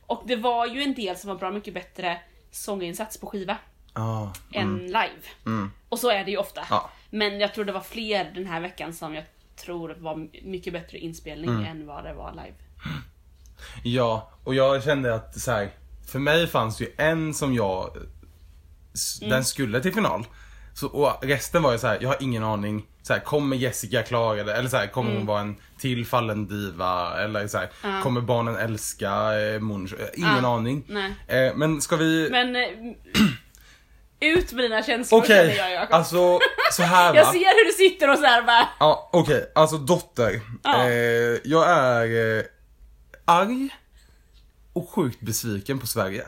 [SPEAKER 3] Och det var ju en del som var bra mycket bättre sånginsats på skiva
[SPEAKER 2] Ja.
[SPEAKER 3] än live. Och så är det ju ofta.
[SPEAKER 2] Mm. Ja.
[SPEAKER 3] Men jag tror det var fler den här veckan som jag tror var mycket bättre inspelning
[SPEAKER 2] Mm.
[SPEAKER 3] än vad det var live.
[SPEAKER 2] Ja, och jag kände att så
[SPEAKER 3] Mm.
[SPEAKER 2] här, för mig fanns ju en som jag, s- den skulle till final. Så, och resten var ju så här, jag har ingen aning. Så här, kommer Jessica klara det? Eller så här, kommer
[SPEAKER 3] Mm.
[SPEAKER 2] hon vara en tillfallen diva? Eller så här, kommer barnen älska eh, Munch? Eh, Ingen
[SPEAKER 3] Ja.
[SPEAKER 2] aning.
[SPEAKER 3] Nej.
[SPEAKER 2] Eh, men ska vi...
[SPEAKER 3] Men eh, ut med dina känslor
[SPEAKER 2] Okej,
[SPEAKER 3] känner jag Jakob.
[SPEAKER 2] alltså så här va.
[SPEAKER 3] Jag ser hur du sitter och så här bara.
[SPEAKER 2] Ja, okej. Alltså dotter.
[SPEAKER 3] Ja.
[SPEAKER 2] Eh, jag är eh, arg och sjukt besviken på Sverige.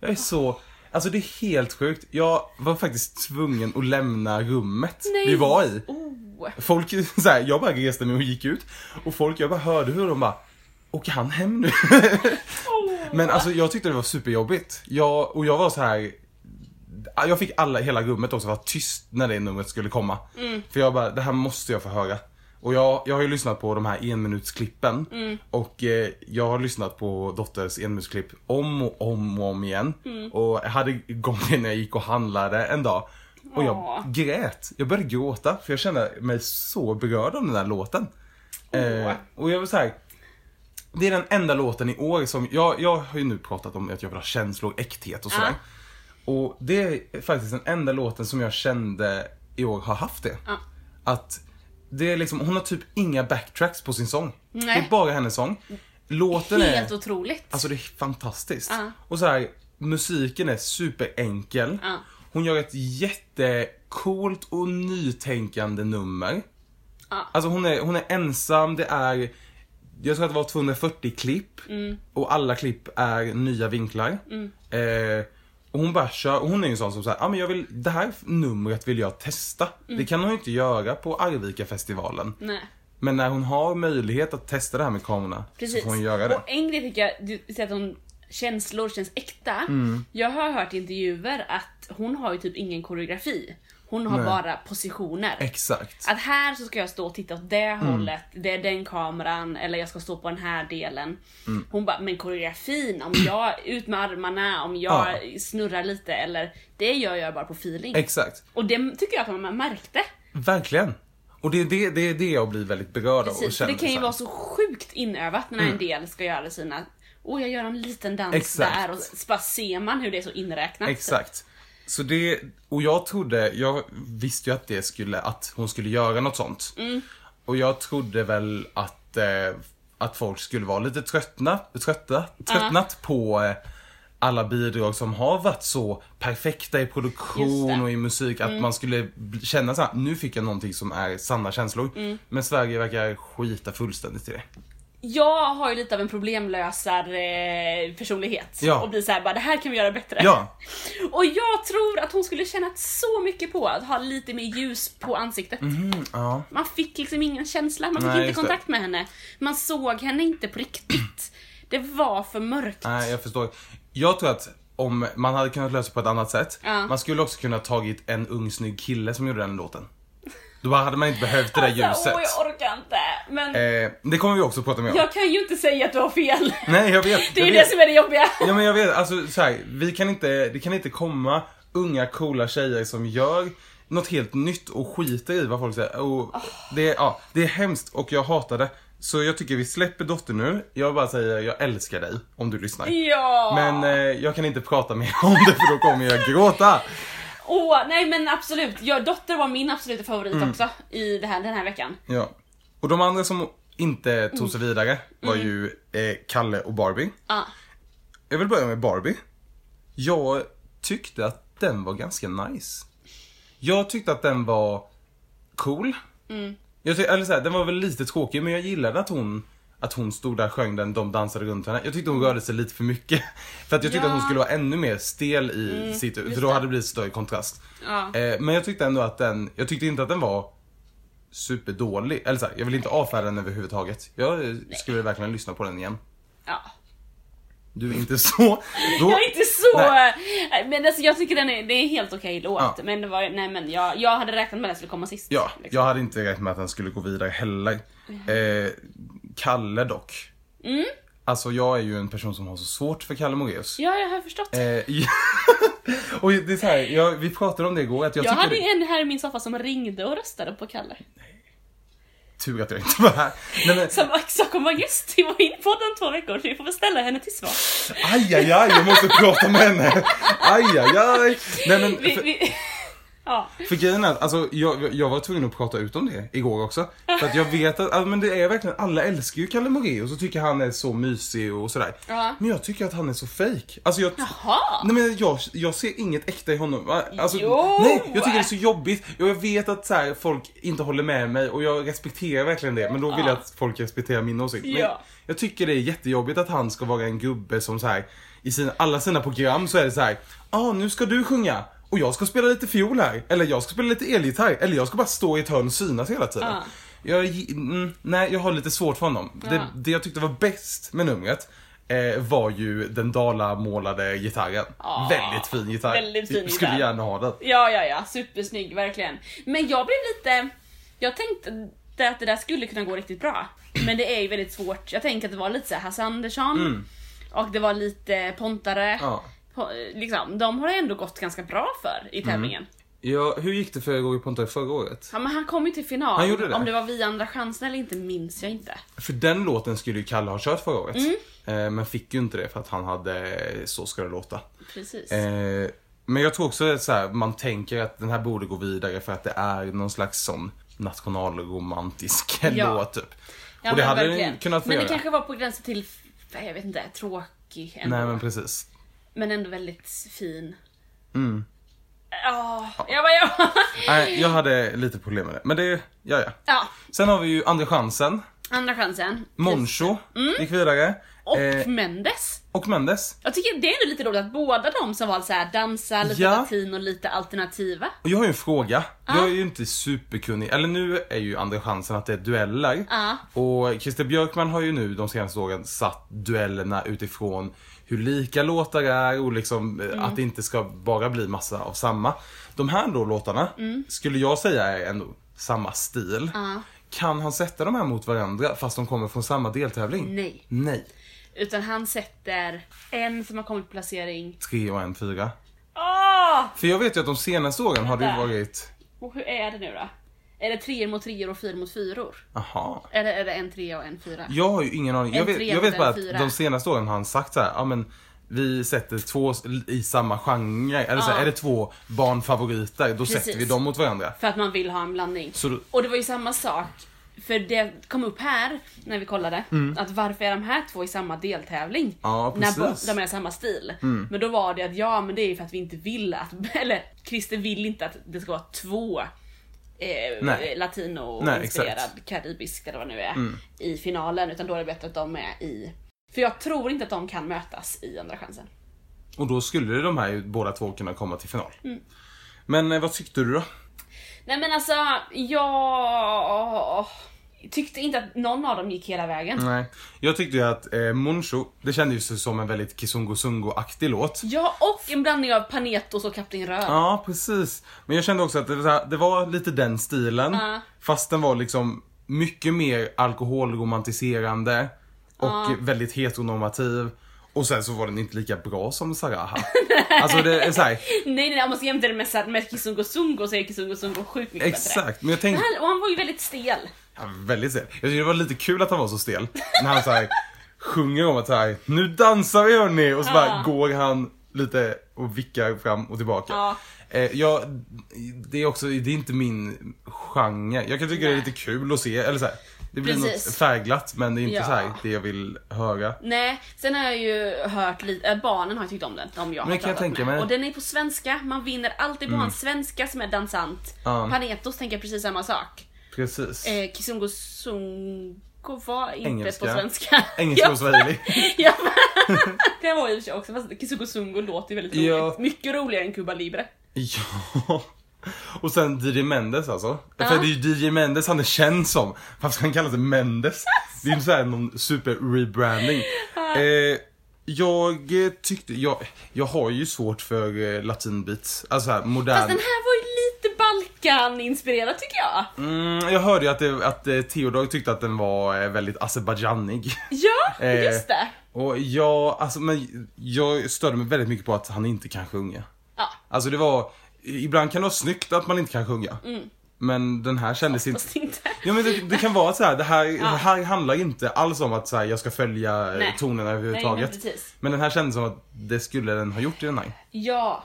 [SPEAKER 2] Jag är så... Alltså det är helt sjukt. Jag var faktiskt tvungen att lämna rummet
[SPEAKER 3] Nej.
[SPEAKER 2] vi var i.
[SPEAKER 3] Oh.
[SPEAKER 2] Folk, så här, jag bara reste mig och gick ut. Och folk, jag bara hörde hur de bara Åker han hem nu? Men alltså jag tyckte det var superjobbigt. Jag, och jag var så här. Jag fick alla, hela rummet också vara tyst när det numret skulle komma.
[SPEAKER 3] Mm.
[SPEAKER 2] För jag bara, det här måste jag få höra. Och jag, jag har ju lyssnat på de här enminutsklippen.
[SPEAKER 3] Mm.
[SPEAKER 2] Och eh, jag har lyssnat på Dotters enminutsklipp om och om och om igen.
[SPEAKER 3] Mm.
[SPEAKER 2] Och jag hade gången när jag gick och handlade en dag. Och jag
[SPEAKER 3] Åh.
[SPEAKER 2] grät. Jag började gråta för jag kände mig så berörd av den där låten.
[SPEAKER 3] Åh.
[SPEAKER 2] Eh, och jag var så här. Det är den enda låten i år som, jag, jag har ju nu pratat om att jag vill ha känslor, äkthet och sådär. Och det är faktiskt den enda låten som jag kände i år har haft det.
[SPEAKER 3] Ja.
[SPEAKER 2] Att det är liksom, hon har typ inga backtracks på sin sång. Det
[SPEAKER 3] Nej.
[SPEAKER 2] är bara hennes sång. Låten är...
[SPEAKER 3] Helt otroligt.
[SPEAKER 2] Alltså det är fantastiskt.
[SPEAKER 3] Ja.
[SPEAKER 2] Och så här, musiken är superenkel.
[SPEAKER 3] Ja.
[SPEAKER 2] Hon gör ett jättecoolt och nytänkande nummer.
[SPEAKER 3] Ja.
[SPEAKER 2] Alltså hon är, hon är ensam, det är, jag tror att det var 240 klipp.
[SPEAKER 3] Mm.
[SPEAKER 2] Och alla klipp är nya vinklar. Eh, och hon bara kör, och hon är ju en sån som säger, ah, men jag vill, det här numret vill jag testa.
[SPEAKER 3] Mm.
[SPEAKER 2] Det kan hon ju inte göra på Arvika-festivalen.
[SPEAKER 3] Nej.
[SPEAKER 2] Men när hon har möjlighet att testa det här med kamerorna så
[SPEAKER 3] Precis.
[SPEAKER 2] får hon göra det.
[SPEAKER 3] Och en grej tycker jag, du säger att hon känslor känns äkta.
[SPEAKER 2] Mm.
[SPEAKER 3] Jag har hört i intervjuer att hon har ju typ ingen koreografi. Hon har
[SPEAKER 2] Nej.
[SPEAKER 3] bara positioner.
[SPEAKER 2] Exakt.
[SPEAKER 3] Att här så ska jag stå och titta åt det
[SPEAKER 2] Mm.
[SPEAKER 3] hållet, det är den kameran eller jag ska stå på den här delen.
[SPEAKER 2] Mm.
[SPEAKER 3] Hon bara, men koreografin, om jag ut med armarna, om jag
[SPEAKER 2] Ja.
[SPEAKER 3] snurrar lite eller det gör jag bara på feeling.
[SPEAKER 2] Exakt.
[SPEAKER 3] och det tycker jag att man märkte.
[SPEAKER 2] Verkligen. Och det är det, det, är det jag blir väldigt berörd av och
[SPEAKER 3] Precis, för
[SPEAKER 2] känner
[SPEAKER 3] det kan
[SPEAKER 2] så
[SPEAKER 3] ju
[SPEAKER 2] här. Mm.
[SPEAKER 3] vara så sjukt inövat när en del ska göra sina Åh jag gör en liten dans
[SPEAKER 2] Exakt.
[SPEAKER 3] där och så bara ser man hur det är så inräknat.
[SPEAKER 2] Exakt. Så det, och jag trodde, jag visste ju att det skulle, att hon skulle göra något sånt.
[SPEAKER 3] Mm.
[SPEAKER 2] Och jag trodde väl att, eh, att folk skulle vara lite tröttna, trötta, tröttnat på eh, alla bidrag som har varit så perfekta i
[SPEAKER 3] Just
[SPEAKER 2] produktion
[SPEAKER 3] det. Mm.
[SPEAKER 2] och i musik att man skulle bli- känna så här, nu fick jag någonting som är sanna känslor.
[SPEAKER 3] Mm.
[SPEAKER 2] Men Sverige verkar skita fullständigt i det.
[SPEAKER 3] Jag har ju lite av en problemlösar eh, personlighet
[SPEAKER 2] Ja.
[SPEAKER 3] och blir såhär bara det här kan vi göra bättre.
[SPEAKER 2] Ja,
[SPEAKER 3] Och jag tror att hon skulle känna så mycket på att ha lite mer ljus på ansiktet.
[SPEAKER 2] mm, ja.
[SPEAKER 3] Man fick liksom ingen känsla, man fick
[SPEAKER 2] Nej,
[SPEAKER 3] inte
[SPEAKER 2] just det.
[SPEAKER 3] kontakt med henne. Man såg henne inte på riktigt. Det var för mörkt.
[SPEAKER 2] Nej, jag förstår. Jag tror att om man hade kunnat lösa på ett annat sätt.
[SPEAKER 3] Ja.
[SPEAKER 2] Man skulle också kunna tagit en ung snygg kille som gjorde den låten. Då hade man inte behövt det där
[SPEAKER 3] Alltså,
[SPEAKER 2] ljuset.
[SPEAKER 3] åh, jag orkar inte. Men
[SPEAKER 2] Eh, det kommer vi också prata mer om.
[SPEAKER 3] jag kan ju inte säga att du har fel.
[SPEAKER 2] Nej, jag vet.
[SPEAKER 3] Det är
[SPEAKER 2] jag
[SPEAKER 3] ju
[SPEAKER 2] vet.
[SPEAKER 3] det som är det jobbiga.
[SPEAKER 2] Ja men jag vet, alltså så här, vi kan inte, det kan inte komma unga coola tjejer som gör något helt nytt och skiter i vad folk säger. Och det, ja, det är hemskt och jag hatar det. Så jag tycker vi släpper Dotter nu. Jag bara säger jag älskar dig om du lyssnar.
[SPEAKER 3] Ja!
[SPEAKER 2] Men eh, jag kan inte prata mer om det för då kommer jag gråta.
[SPEAKER 3] Åh, nej men absolut. Ja, Dotter var min absoluta favorit
[SPEAKER 2] Mm.
[SPEAKER 3] också i det här, den här veckan.
[SPEAKER 2] Ja. Och de andra som inte tog sig vidare var ju eh, Kalle och Barbie.
[SPEAKER 3] Ja.
[SPEAKER 2] Jag vill börja med Barbie. Jag tyckte att den var ganska nice. Jag tyckte att den var cool.
[SPEAKER 3] Mm.
[SPEAKER 2] Jag tyckte, eller så här, den var väl lite tråkig men jag gillade att hon att hon stod där och sjöng den, de dansade runt henne. Jag tyckte hon rörde sig lite för mycket. För att jag tyckte
[SPEAKER 3] Ja. Mm,
[SPEAKER 2] att hon skulle vara ännu mer stel i sitt, för då hade det blivit större kontrast.
[SPEAKER 3] Ja.
[SPEAKER 2] Eh, men jag tyckte ändå att den, jag tyckte inte att den var superdålig. Eller så här, jag vill inte avfärda den överhuvudtaget. Jag eh, skulle verkligen lyssna på den igen.
[SPEAKER 3] ja.
[SPEAKER 2] Du är inte så. Då,
[SPEAKER 3] Jag är inte så...
[SPEAKER 2] Nej.
[SPEAKER 3] Men alltså jag tycker den är, det är helt okej låt.
[SPEAKER 2] Ja.
[SPEAKER 3] Men det var nej men jag, jag hade räknat med att den skulle komma sist.
[SPEAKER 2] Ja,
[SPEAKER 3] liksom. Mm.
[SPEAKER 2] jag hade inte räknat med att den skulle gå vidare heller. Eh, Kalle dock. Alltså jag är ju en person som har så svårt för Kalle Moraeus.
[SPEAKER 3] Ja, jag har förstått.
[SPEAKER 2] Eh, och det är så här, jag, vi pratade om det igår att jag,
[SPEAKER 3] jag
[SPEAKER 2] tycker
[SPEAKER 3] hade
[SPEAKER 2] det,
[SPEAKER 3] en här i min soffa som ringde och röstade på Kalle.
[SPEAKER 2] tur att jag inte var här. Nej, men,
[SPEAKER 3] Som också kommer augusti var in på den två veckor, så vi får väl ställa henne till svar.
[SPEAKER 2] aj, aj, aj, jag måste prata med henne. Aj, aj, aj. Nej, men,
[SPEAKER 3] Vi,
[SPEAKER 2] för,
[SPEAKER 3] vi... Ja.
[SPEAKER 2] För grejen är att alltså, jag, jag var tvungen att prata ut om det igår också. För att jag vet att, ja, men det är verkligen, alla älskar ju Kalle Moraeus och tycker han är så mysig och sådär.
[SPEAKER 3] Ja.
[SPEAKER 2] Men jag tycker att han är så fake. Alltså jag,
[SPEAKER 3] Jaha.
[SPEAKER 2] Nej men jag, jag ser inget äkta i honom. Alltså,
[SPEAKER 3] Jo.
[SPEAKER 2] nej, jag tycker det är så jobbigt. Och jag vet att så här, folk inte håller med mig och jag respekterar verkligen det. Men då vill
[SPEAKER 3] Ja.
[SPEAKER 2] jag att folk respekterar min åsikt. Men
[SPEAKER 3] Ja.
[SPEAKER 2] jag tycker det är jättejobbigt att han ska vara en gubbe som så här i sina, alla sina program så är det så här. Ja, ah, nu ska du sjunga. Och jag ska spela lite fiol här. Eller jag ska spela lite elgitarr. Eller jag ska bara stå i ett hörn och synas hela tiden.
[SPEAKER 3] Ja.
[SPEAKER 2] Jag, gi- mm, nej, jag har lite svårt för honom.
[SPEAKER 3] Ja.
[SPEAKER 2] Det, det jag tyckte var bäst med numret eh, var ju den dalamålade gitarren.
[SPEAKER 3] Ja.
[SPEAKER 2] Väldigt fin gitarr.
[SPEAKER 3] Ah. Väldigt fin
[SPEAKER 2] Jag skulle
[SPEAKER 3] gitarr.
[SPEAKER 2] gärna ha den.
[SPEAKER 3] Ja, ja, ja. Supersnygg, verkligen. Men jag blev lite... Jag tänkte att det där skulle kunna gå riktigt bra. Men det är ju väldigt svårt. Jag tänker att det var lite så här Hasse Andersson och det var lite Pontare.
[SPEAKER 2] Mm. Ja.
[SPEAKER 3] Po- liksom, de har det ändå gått ganska bra för i tävlingen.
[SPEAKER 2] Mm. Ja, hur gick det för Roger Pontare förra året?
[SPEAKER 3] Ja, men han kom ju till final.
[SPEAKER 2] Han gjorde det.
[SPEAKER 3] Om det var vi andra chansen eller inte minns jag inte.
[SPEAKER 2] För den låten skulle ju Kalle ha kört förra året.
[SPEAKER 3] Mm.
[SPEAKER 2] Eh, men fick ju inte det för att han hade eh, Så ska det låta.
[SPEAKER 3] Precis.
[SPEAKER 2] Eh, men jag tror också att så här, man tänker att den här borde gå vidare för att det är någon slags sån nationalromantisk
[SPEAKER 3] Ja.
[SPEAKER 2] låt typ.
[SPEAKER 3] Ja,
[SPEAKER 2] och det
[SPEAKER 3] men
[SPEAKER 2] hade den
[SPEAKER 3] verkligen.
[SPEAKER 2] kunnat få
[SPEAKER 3] Men det
[SPEAKER 2] göra.
[SPEAKER 3] kanske var på gränsen till, f- jag vet inte, tråkig ändå.
[SPEAKER 2] Nej men
[SPEAKER 3] men...
[SPEAKER 2] precis.
[SPEAKER 3] ändå väldigt fin.
[SPEAKER 2] Mm.
[SPEAKER 3] Ja, jag bara, jag bara.
[SPEAKER 2] Nej, jag hade lite problem med det. Men det, ja ja.
[SPEAKER 3] Ja,
[SPEAKER 2] Sen har vi ju Andra chansen.
[SPEAKER 3] andra chansen.
[SPEAKER 2] Moncho gick vidare.
[SPEAKER 3] Mm. Och
[SPEAKER 2] Eh,
[SPEAKER 3] Mendes.
[SPEAKER 2] och Mendes.
[SPEAKER 3] Jag tycker det är ändå lite roligt att båda de som var så här dansa, lite
[SPEAKER 2] Ja.
[SPEAKER 3] latin och lite alternativa.
[SPEAKER 2] Och jag har ju en fråga. Jag är ju inte superkunnig. Eller nu är ju Andra chansen att det är dueller.
[SPEAKER 3] Ja.
[SPEAKER 2] Och Christer Björkman har ju nu de senaste åren satt duellerna utifrån hur lika låtar är och liksom eh,
[SPEAKER 3] Mm.
[SPEAKER 2] att det inte ska bara bli massa av samma. De här då låtarna skulle jag säga är ändå samma stil.
[SPEAKER 3] Mm. Ja.
[SPEAKER 2] Kan han sätta de här mot varandra fast de kommer från samma deltävling?
[SPEAKER 3] Nej.
[SPEAKER 2] Nej.
[SPEAKER 3] Utan han sätter en som har kommit på placering.
[SPEAKER 2] Tre och en fyra.
[SPEAKER 3] Åh!
[SPEAKER 2] För jag vet ju att de senaste åren har det ju
[SPEAKER 3] Vänta.
[SPEAKER 2] varit...
[SPEAKER 3] Och hur är det nu då? Är det treor mot treor och fyror mot fyror?
[SPEAKER 2] Aha.
[SPEAKER 3] Eller är det en trea och en fyra?
[SPEAKER 2] Jag har ju ingen aning. Jag
[SPEAKER 3] En
[SPEAKER 2] vet,
[SPEAKER 3] trea
[SPEAKER 2] jag
[SPEAKER 3] mot
[SPEAKER 2] vet bara
[SPEAKER 3] en
[SPEAKER 2] att
[SPEAKER 3] fyra.
[SPEAKER 2] de senaste åren har han sagt så här, ja men vi sätter två s- i samma genre. Eller så här,
[SPEAKER 3] Ja.
[SPEAKER 2] är det två barnfavoriter, då
[SPEAKER 3] Precis.
[SPEAKER 2] sätter vi dem mot varandra.
[SPEAKER 3] För att man vill ha en blandning.
[SPEAKER 2] Så då-
[SPEAKER 3] Och det var ju samma sak, för det kom upp här när vi kollade, att varför är de här två i samma deltävling?
[SPEAKER 2] Mm. Ja,
[SPEAKER 3] när bo-
[SPEAKER 2] precis. Mm.
[SPEAKER 3] de är samma stil. Men då var det att ja, men det är ju för att vi inte vill att, eller Christer vill inte att det ska vara två
[SPEAKER 2] Nej.
[SPEAKER 3] eh,
[SPEAKER 2] Nej,
[SPEAKER 3] latino-inspirerad
[SPEAKER 2] exakt. Mm.
[SPEAKER 3] karibisk eller vad det nu är i finalen utan då är det bättre att de är i för jag tror inte att de kan mötas i Andra chansen.
[SPEAKER 2] Och då skulle de här ju båda två kunna komma till final.
[SPEAKER 3] Mm.
[SPEAKER 2] Men eh, vad tyckte du då?
[SPEAKER 3] Nej men alltså, jag tyckte inte att någon av dem gick hela vägen.
[SPEAKER 2] Nej. Jag tyckte ju att eh, Moncho, det kändes ju som en väldigt Kizungo Sungo-aktig låt.
[SPEAKER 3] Ja, och en blandning av Panetos och Kapten Röd.
[SPEAKER 2] Ja, precis. Men jag kände också att det var, så här, det var lite den stilen.
[SPEAKER 3] Ja.
[SPEAKER 2] Fast den var liksom mycket mer alkoholromantiserande och väldigt heteronormativ. Och sen så var den inte lika bra som Saraha. alltså det är så här,
[SPEAKER 3] Nej, nej, nej, om man ska jämföra det med, Sa- med Kizungo Zungo så är Kizungo Zungo sjukt mycket bättre.
[SPEAKER 2] exakt. Men
[SPEAKER 3] Men
[SPEAKER 2] jag tänkte,
[SPEAKER 3] Han, och han var ju väldigt stel.
[SPEAKER 2] ja, väldigt stel. Jag tyckte det var lite kul att han var så stel. När han så här, sjunger om att så här, nu dansar vi hörni! Och så bara
[SPEAKER 3] Ja.
[SPEAKER 2] går han lite och vickar fram och tillbaka.
[SPEAKER 3] Ja.
[SPEAKER 2] Eh, jag, det är också, det är inte min genre. Jag kan tycka det är
[SPEAKER 3] Nej.
[SPEAKER 2] lite kul att se, eller så här, Det blir
[SPEAKER 3] Precis.
[SPEAKER 2] något färgglatt men det är inte
[SPEAKER 3] Ja.
[SPEAKER 2] så här det jag vill höra.
[SPEAKER 3] Nej, sen har jag ju hört lite, äh, barnen har ju tyckt om den, de jag
[SPEAKER 2] Men
[SPEAKER 3] har
[SPEAKER 2] kan jag
[SPEAKER 3] pratat
[SPEAKER 2] tänka
[SPEAKER 3] med.
[SPEAKER 2] mig. Mm.
[SPEAKER 3] Och den är på svenska, man vinner alltid på en svenska som är dansant.
[SPEAKER 2] Ja.
[SPEAKER 3] Panetos tänker jag precis samma sak.
[SPEAKER 2] Precis.
[SPEAKER 3] Eh, Kizungo Zungo var inte
[SPEAKER 2] Engelska.
[SPEAKER 3] på svenska.
[SPEAKER 2] Engelska
[SPEAKER 3] Ja.
[SPEAKER 2] och swahili.
[SPEAKER 3] Ja, det var i och för sig också, fast Kizungo Zungo låter ju väldigt roligt.
[SPEAKER 2] Ja.
[SPEAKER 3] Mycket roligare än Cuba Libre.
[SPEAKER 2] ja. Och sen DJ Mendes alltså. För det är ju DJ Mendes han är känd som. Varför ska han kalla sig Mendes?
[SPEAKER 3] Alltså.
[SPEAKER 2] Det är ju så här någon super-rebranding. Eh, jag eh, tyckte, jag, jag har ju svårt för eh, latinbeats. Alltså här modern.
[SPEAKER 3] Fast den här var ju lite Balkan-inspirerad tycker jag.
[SPEAKER 2] Mm, jag hörde ju att, det, att eh, Theodor tyckte att den var eh, väldigt azerbajdzjanig.
[SPEAKER 3] Ja,
[SPEAKER 2] Eh.
[SPEAKER 3] just det.
[SPEAKER 2] Och jag, alltså men jag störde mig väldigt mycket på att han inte kan sjunga.
[SPEAKER 3] Ja,
[SPEAKER 2] Alltså det var, ibland kan det vara snyggt att man inte kan sjunga.
[SPEAKER 3] Mm.
[SPEAKER 2] Men den här kändes inte...
[SPEAKER 3] fast inte.
[SPEAKER 2] Ja men det, det kan vara så här, det här, det här handlar inte alls om att så här, jag ska följa eh,
[SPEAKER 3] Nej.
[SPEAKER 2] tonerna
[SPEAKER 3] Nej, men
[SPEAKER 2] överhuvudtaget.
[SPEAKER 3] precis.
[SPEAKER 2] men den här kändes som att det skulle den ha gjort i den här.
[SPEAKER 3] Ja.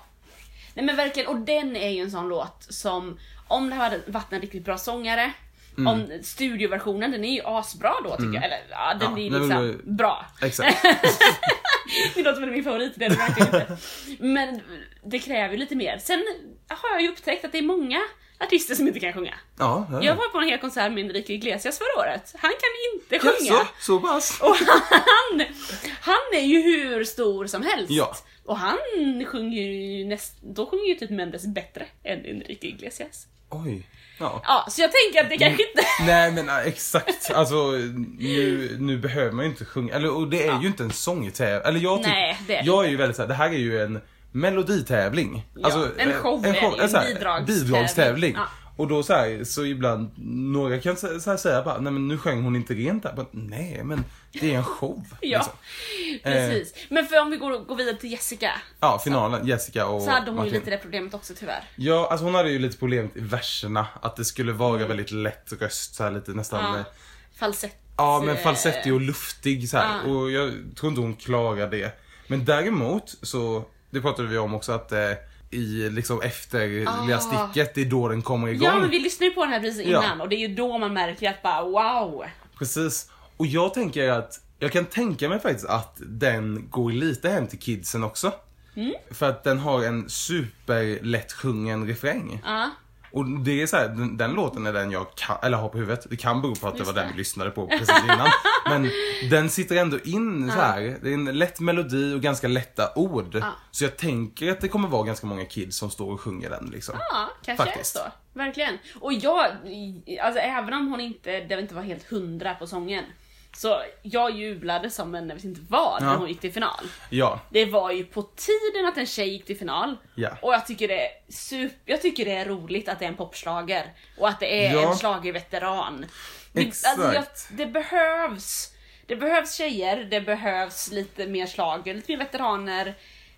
[SPEAKER 3] Nej men verkligen, och den är ju en sån låt som, om det hade varit en riktigt bra sångare,
[SPEAKER 2] Mm.
[SPEAKER 3] om studioversionen, den är ju asbra då tycker jag. Eller ja, den är
[SPEAKER 2] Ja, nej,
[SPEAKER 3] liksom
[SPEAKER 2] men då-
[SPEAKER 3] bra.
[SPEAKER 2] Exakt.
[SPEAKER 3] Det låter som min favorit, det är det verkligen inte. Men det kräver ju lite mer. Sen har jag ju upptäckt att det är många artister som inte kan sjunga.
[SPEAKER 2] Ja, ja.
[SPEAKER 3] Jag var på en hel konsert med Enrique Iglesias förra året. Han kan inte
[SPEAKER 2] Ja,
[SPEAKER 3] sjunga.
[SPEAKER 2] så, så pass.
[SPEAKER 3] Och han, han är ju hur stor som helst.
[SPEAKER 2] Ja.
[SPEAKER 3] Och han sjunger ju näst, då sjunger ju typ Mendes bättre än Enrique Iglesias.
[SPEAKER 2] Oj. Ja.
[SPEAKER 3] Ja, så jag tänker att det kanske inte...
[SPEAKER 2] Mm. Nej men ja, exakt, alltså nu, nu behöver man ju inte sjunga, eller och det är ju inte en sångtävling. Eller jag, tyck-
[SPEAKER 3] Nej, det är det
[SPEAKER 2] jag är ju väldigt såhär, det här är ju en meloditävling.
[SPEAKER 3] Ja, en
[SPEAKER 2] eh,
[SPEAKER 3] show är det ju,
[SPEAKER 2] eh, såhär,
[SPEAKER 3] en bidragstävling.
[SPEAKER 2] bidragstävling.
[SPEAKER 3] Ja.
[SPEAKER 2] Och då så, här, så ibland, några kan så så här säga bara, nej men nu sjöng hon inte rent där. Bara, nej men det är en show.
[SPEAKER 3] Ja,
[SPEAKER 2] liksom. Eh.
[SPEAKER 3] precis. Men för om vi går, går vidare till Jessica,
[SPEAKER 2] ja finalen, Jessica och
[SPEAKER 3] så hade hon ju
[SPEAKER 2] Martin.
[SPEAKER 3] lite det problemet också tyvärr.
[SPEAKER 2] Ja, alltså hon hade ju lite problemet i verserna, att det skulle vara väldigt lätt röst så här, lite nästan
[SPEAKER 3] Mm. Ja.
[SPEAKER 2] eh,
[SPEAKER 3] Falsett.
[SPEAKER 2] Ja, men falsettig
[SPEAKER 3] eh,
[SPEAKER 2] och luftig så här. Och jag tror inte hon klarar det. Men däremot så, det pratade vi om också att eh, i liksom efter lilla sticket, det är då den kommer igång.
[SPEAKER 3] Ah. Ja men vi lyssnade ju på den här precis
[SPEAKER 2] Ja.
[SPEAKER 3] innan och det är ju då man märker att bara wow.
[SPEAKER 2] Precis. Och jag tänker att, jag kan tänka mig faktiskt att den går lite hem till kidsen också.
[SPEAKER 3] Mm.
[SPEAKER 2] För att den har en superlättsjungen refräng.
[SPEAKER 3] Ja.
[SPEAKER 2] Och det är så här, den, den låten är den jag kan, eller har på huvudet. Det kan bero på att det var den vi
[SPEAKER 3] det.
[SPEAKER 2] lyssnade på precis innan. Men den sitter ändå in så här. Det är en lätt melodi och ganska lätta ord. Så jag tänker att det kommer vara ganska många kids som står och sjunger den liksom.
[SPEAKER 3] Ja, kanske
[SPEAKER 2] Faktiskt.
[SPEAKER 3] är så. Verkligen. Och jag, alltså även om hon inte, det inte var helt hundra på sången, så jag jublade som en, jag vet inte vad, när
[SPEAKER 2] Ja.
[SPEAKER 3] hon gick till final.
[SPEAKER 2] Ja,
[SPEAKER 3] Det var ju på tiden att en tjej gick till final.
[SPEAKER 2] Ja.
[SPEAKER 3] Och jag tycker, det är super, jag tycker det är roligt att det är en popslager och att det är
[SPEAKER 2] Ja.
[SPEAKER 3] en schlagerveteran. Det, alltså,
[SPEAKER 2] Exakt.
[SPEAKER 3] jag, det behövs det behövs tjejer, det behövs lite mer slager, lite mer veteraner.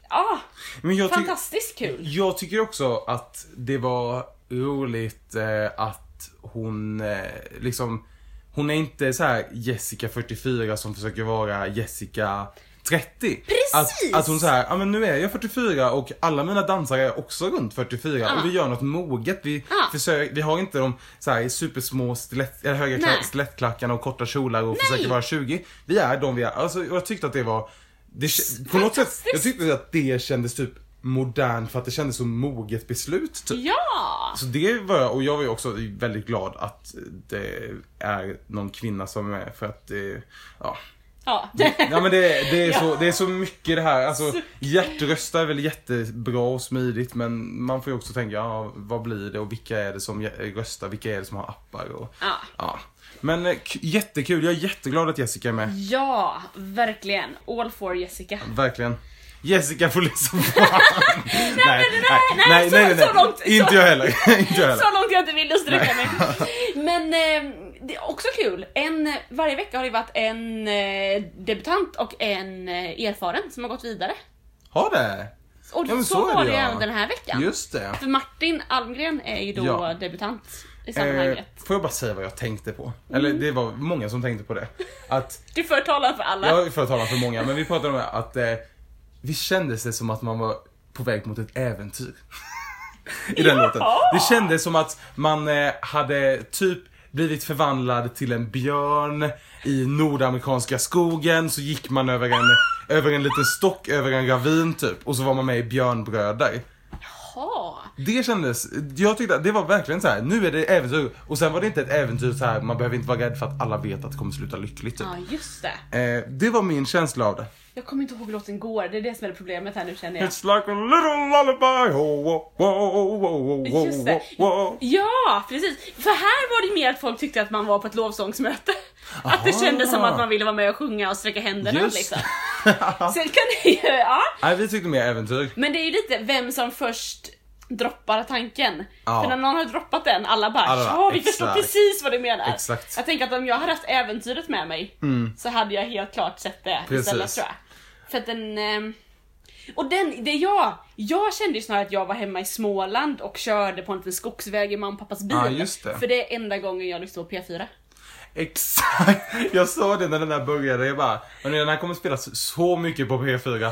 [SPEAKER 3] Ah,
[SPEAKER 2] men jag, tycker-
[SPEAKER 3] fantastiskt kul!
[SPEAKER 2] jag tycker också att det var roligt eh, att hon eh, liksom hon är inte så här Jessica 44 som försöker vara Jessica 30.
[SPEAKER 3] Precis!
[SPEAKER 2] Att, att hon säger, ja men nu är jag 44 och alla mina dansare är också runt 44
[SPEAKER 3] Ja.
[SPEAKER 2] och vi gör något moget. Vi,
[SPEAKER 3] Ja.
[SPEAKER 2] försöker, vi har inte de så här supersmå stilett, eller höga
[SPEAKER 3] Nej.
[SPEAKER 2] kla- stilettklackarna och korta kjolar och försöker vara 20. Vi är de vi är. Alltså, och jag tyckte att det var, det, kä- på något sätt, jag tyckte att det kändes typ modernt för att det kändes som moget beslut typ.
[SPEAKER 3] Ja!
[SPEAKER 2] Så det var jag, och jag var ju också väldigt glad att det är någon kvinna som är för att det, ja.
[SPEAKER 3] ja.
[SPEAKER 2] Ja men det, det, är
[SPEAKER 3] Ja.
[SPEAKER 2] så, det är så mycket det här, alltså hjärtrösta är väl jättebra och smidigt men man får ju också tänka, ja vad blir det och vilka är det som jä- röstar, vilka är det som har appar och
[SPEAKER 3] Ja.
[SPEAKER 2] ja. Men eh, k- jättekul, jag är jätteglad att Jessica är med,
[SPEAKER 3] Ja, verkligen. All for Jessica.
[SPEAKER 2] verkligen. Jessica får liksom fan. nej,
[SPEAKER 3] nej, så- så långt, så-
[SPEAKER 2] Inte jag heller. inte jag heller.
[SPEAKER 3] Så långt jag inte vill sträcka mig. Men eh, det är också kul. En, varje vecka har det varit en eh, debutant och en eh, erfaren som har gått vidare.
[SPEAKER 2] Har det?
[SPEAKER 3] Och
[SPEAKER 2] Ja, men
[SPEAKER 3] så,
[SPEAKER 2] så är
[SPEAKER 3] var
[SPEAKER 2] det,
[SPEAKER 3] det ju
[SPEAKER 2] ja.
[SPEAKER 3] även den här veckan.
[SPEAKER 2] Just det.
[SPEAKER 3] För Martin Almgren är ju då
[SPEAKER 2] Ja.
[SPEAKER 3] debutant i
[SPEAKER 2] Eh,
[SPEAKER 3] sammanhanget. Mm.
[SPEAKER 2] får jag bara säga vad jag tänkte på? Eller det var många som tänkte på det. Att
[SPEAKER 3] Du får tala för alla.
[SPEAKER 2] Jag får tala för många, men vi pratade om det här, att eh, vi kändes det som att man var på väg mot ett äventyr. I den låten. Det kändes som att man eh, hade typ blivit förvandlad till en björn i nordamerikanska skogen, så gick man över en, över en liten stock, över en ravin typ, och så var man med i Björnbröder.
[SPEAKER 3] Ja.
[SPEAKER 2] Det kändes, jag tyckte att det var verkligen så här. nu är det äventyr, och sen var det inte ett äventyr så här. man behöver inte vara rädd för att alla vet att det kommer sluta lyckligt typ.
[SPEAKER 3] ja, just det.
[SPEAKER 2] Eh, det var min känsla av det.
[SPEAKER 3] Jag kommer inte ihåg hur låten går, det är det som är problemet här nu känner jag.
[SPEAKER 2] It's like a little lullaby. Oh, whoa, whoa, whoa, whoa,
[SPEAKER 3] Just det.
[SPEAKER 2] whoa.
[SPEAKER 3] Ja, precis! För här var det mer att folk tyckte att man var på ett lovsångsmöte. Att det
[SPEAKER 2] Aha.
[SPEAKER 3] kändes som att man ville vara med och sjunga och sträcka händerna
[SPEAKER 2] Just.
[SPEAKER 3] liksom. Sen kan det ju, ja.
[SPEAKER 2] Nej, vi tyckte mer äventyr.
[SPEAKER 3] Men det är ju lite vem som först droppar tanken.
[SPEAKER 2] Ja.
[SPEAKER 3] För när någon har droppat den, alla bara
[SPEAKER 2] Alla bara,
[SPEAKER 3] ja vi förstår
[SPEAKER 2] exakt.
[SPEAKER 3] precis vad du menar.
[SPEAKER 2] Exakt. Mm.
[SPEAKER 3] Jag tänker att om jag hade haft äventyret med mig så hade jag helt klart sett det istället
[SPEAKER 2] Precis.
[SPEAKER 3] tror jag. För att den... ehm, Och den, det är jag, jag kände ju snarare att jag var hemma i Småland och körde på en liten skogsväg i mamma och pappas bil.
[SPEAKER 2] Ja, just det.
[SPEAKER 3] För det är enda gången jag lyssnar på P4.
[SPEAKER 2] Exakt! Jag sa det när den där började, jag bara, men den här kommer spelas så mycket på P4.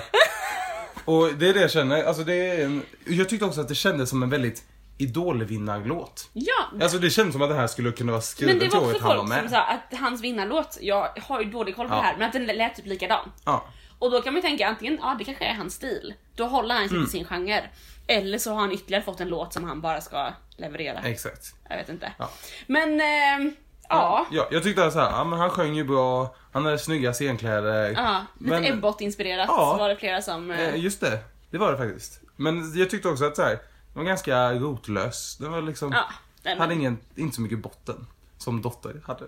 [SPEAKER 2] Och det är det jag känner. Alltså det är en... Jag tyckte också att det kändes som en väldigt idolvinnarlåt.
[SPEAKER 3] Ja,
[SPEAKER 2] Alltså det kändes som att den här skulle kunna vara
[SPEAKER 3] men det
[SPEAKER 2] skriven till
[SPEAKER 3] var också
[SPEAKER 2] året han var
[SPEAKER 3] folk som sa
[SPEAKER 2] med.
[SPEAKER 3] att hans vinnarlåt, jag har ju dålig koll på
[SPEAKER 2] Ja.
[SPEAKER 3] det här, men att den lät typ likadan.
[SPEAKER 2] Ja.
[SPEAKER 3] Och då kan man ju tänka antingen, ja det kanske är hans stil, då håller han sig
[SPEAKER 2] Mm.
[SPEAKER 3] till sin genre. Eller så har han ytterligare fått en låt som han bara ska leverera.
[SPEAKER 2] Exakt.
[SPEAKER 3] Jag vet inte.
[SPEAKER 2] Ja.
[SPEAKER 3] Men, ehm, ja.
[SPEAKER 2] Ja, jag tyckte så här, ja, men han sjöng ju bra, han hade snygga scenkläder.
[SPEAKER 3] ja. Lite
[SPEAKER 2] men,
[SPEAKER 3] Ebbot-inspirerat
[SPEAKER 2] Ja.
[SPEAKER 3] var det flera som... eh,
[SPEAKER 2] eh, Just det, det var det faktiskt. Men jag tyckte också att så här, den var ganska rotlös. Den var liksom,
[SPEAKER 3] Ja, nej, men-
[SPEAKER 2] hade ingen, inte så mycket botten som Dotter hade.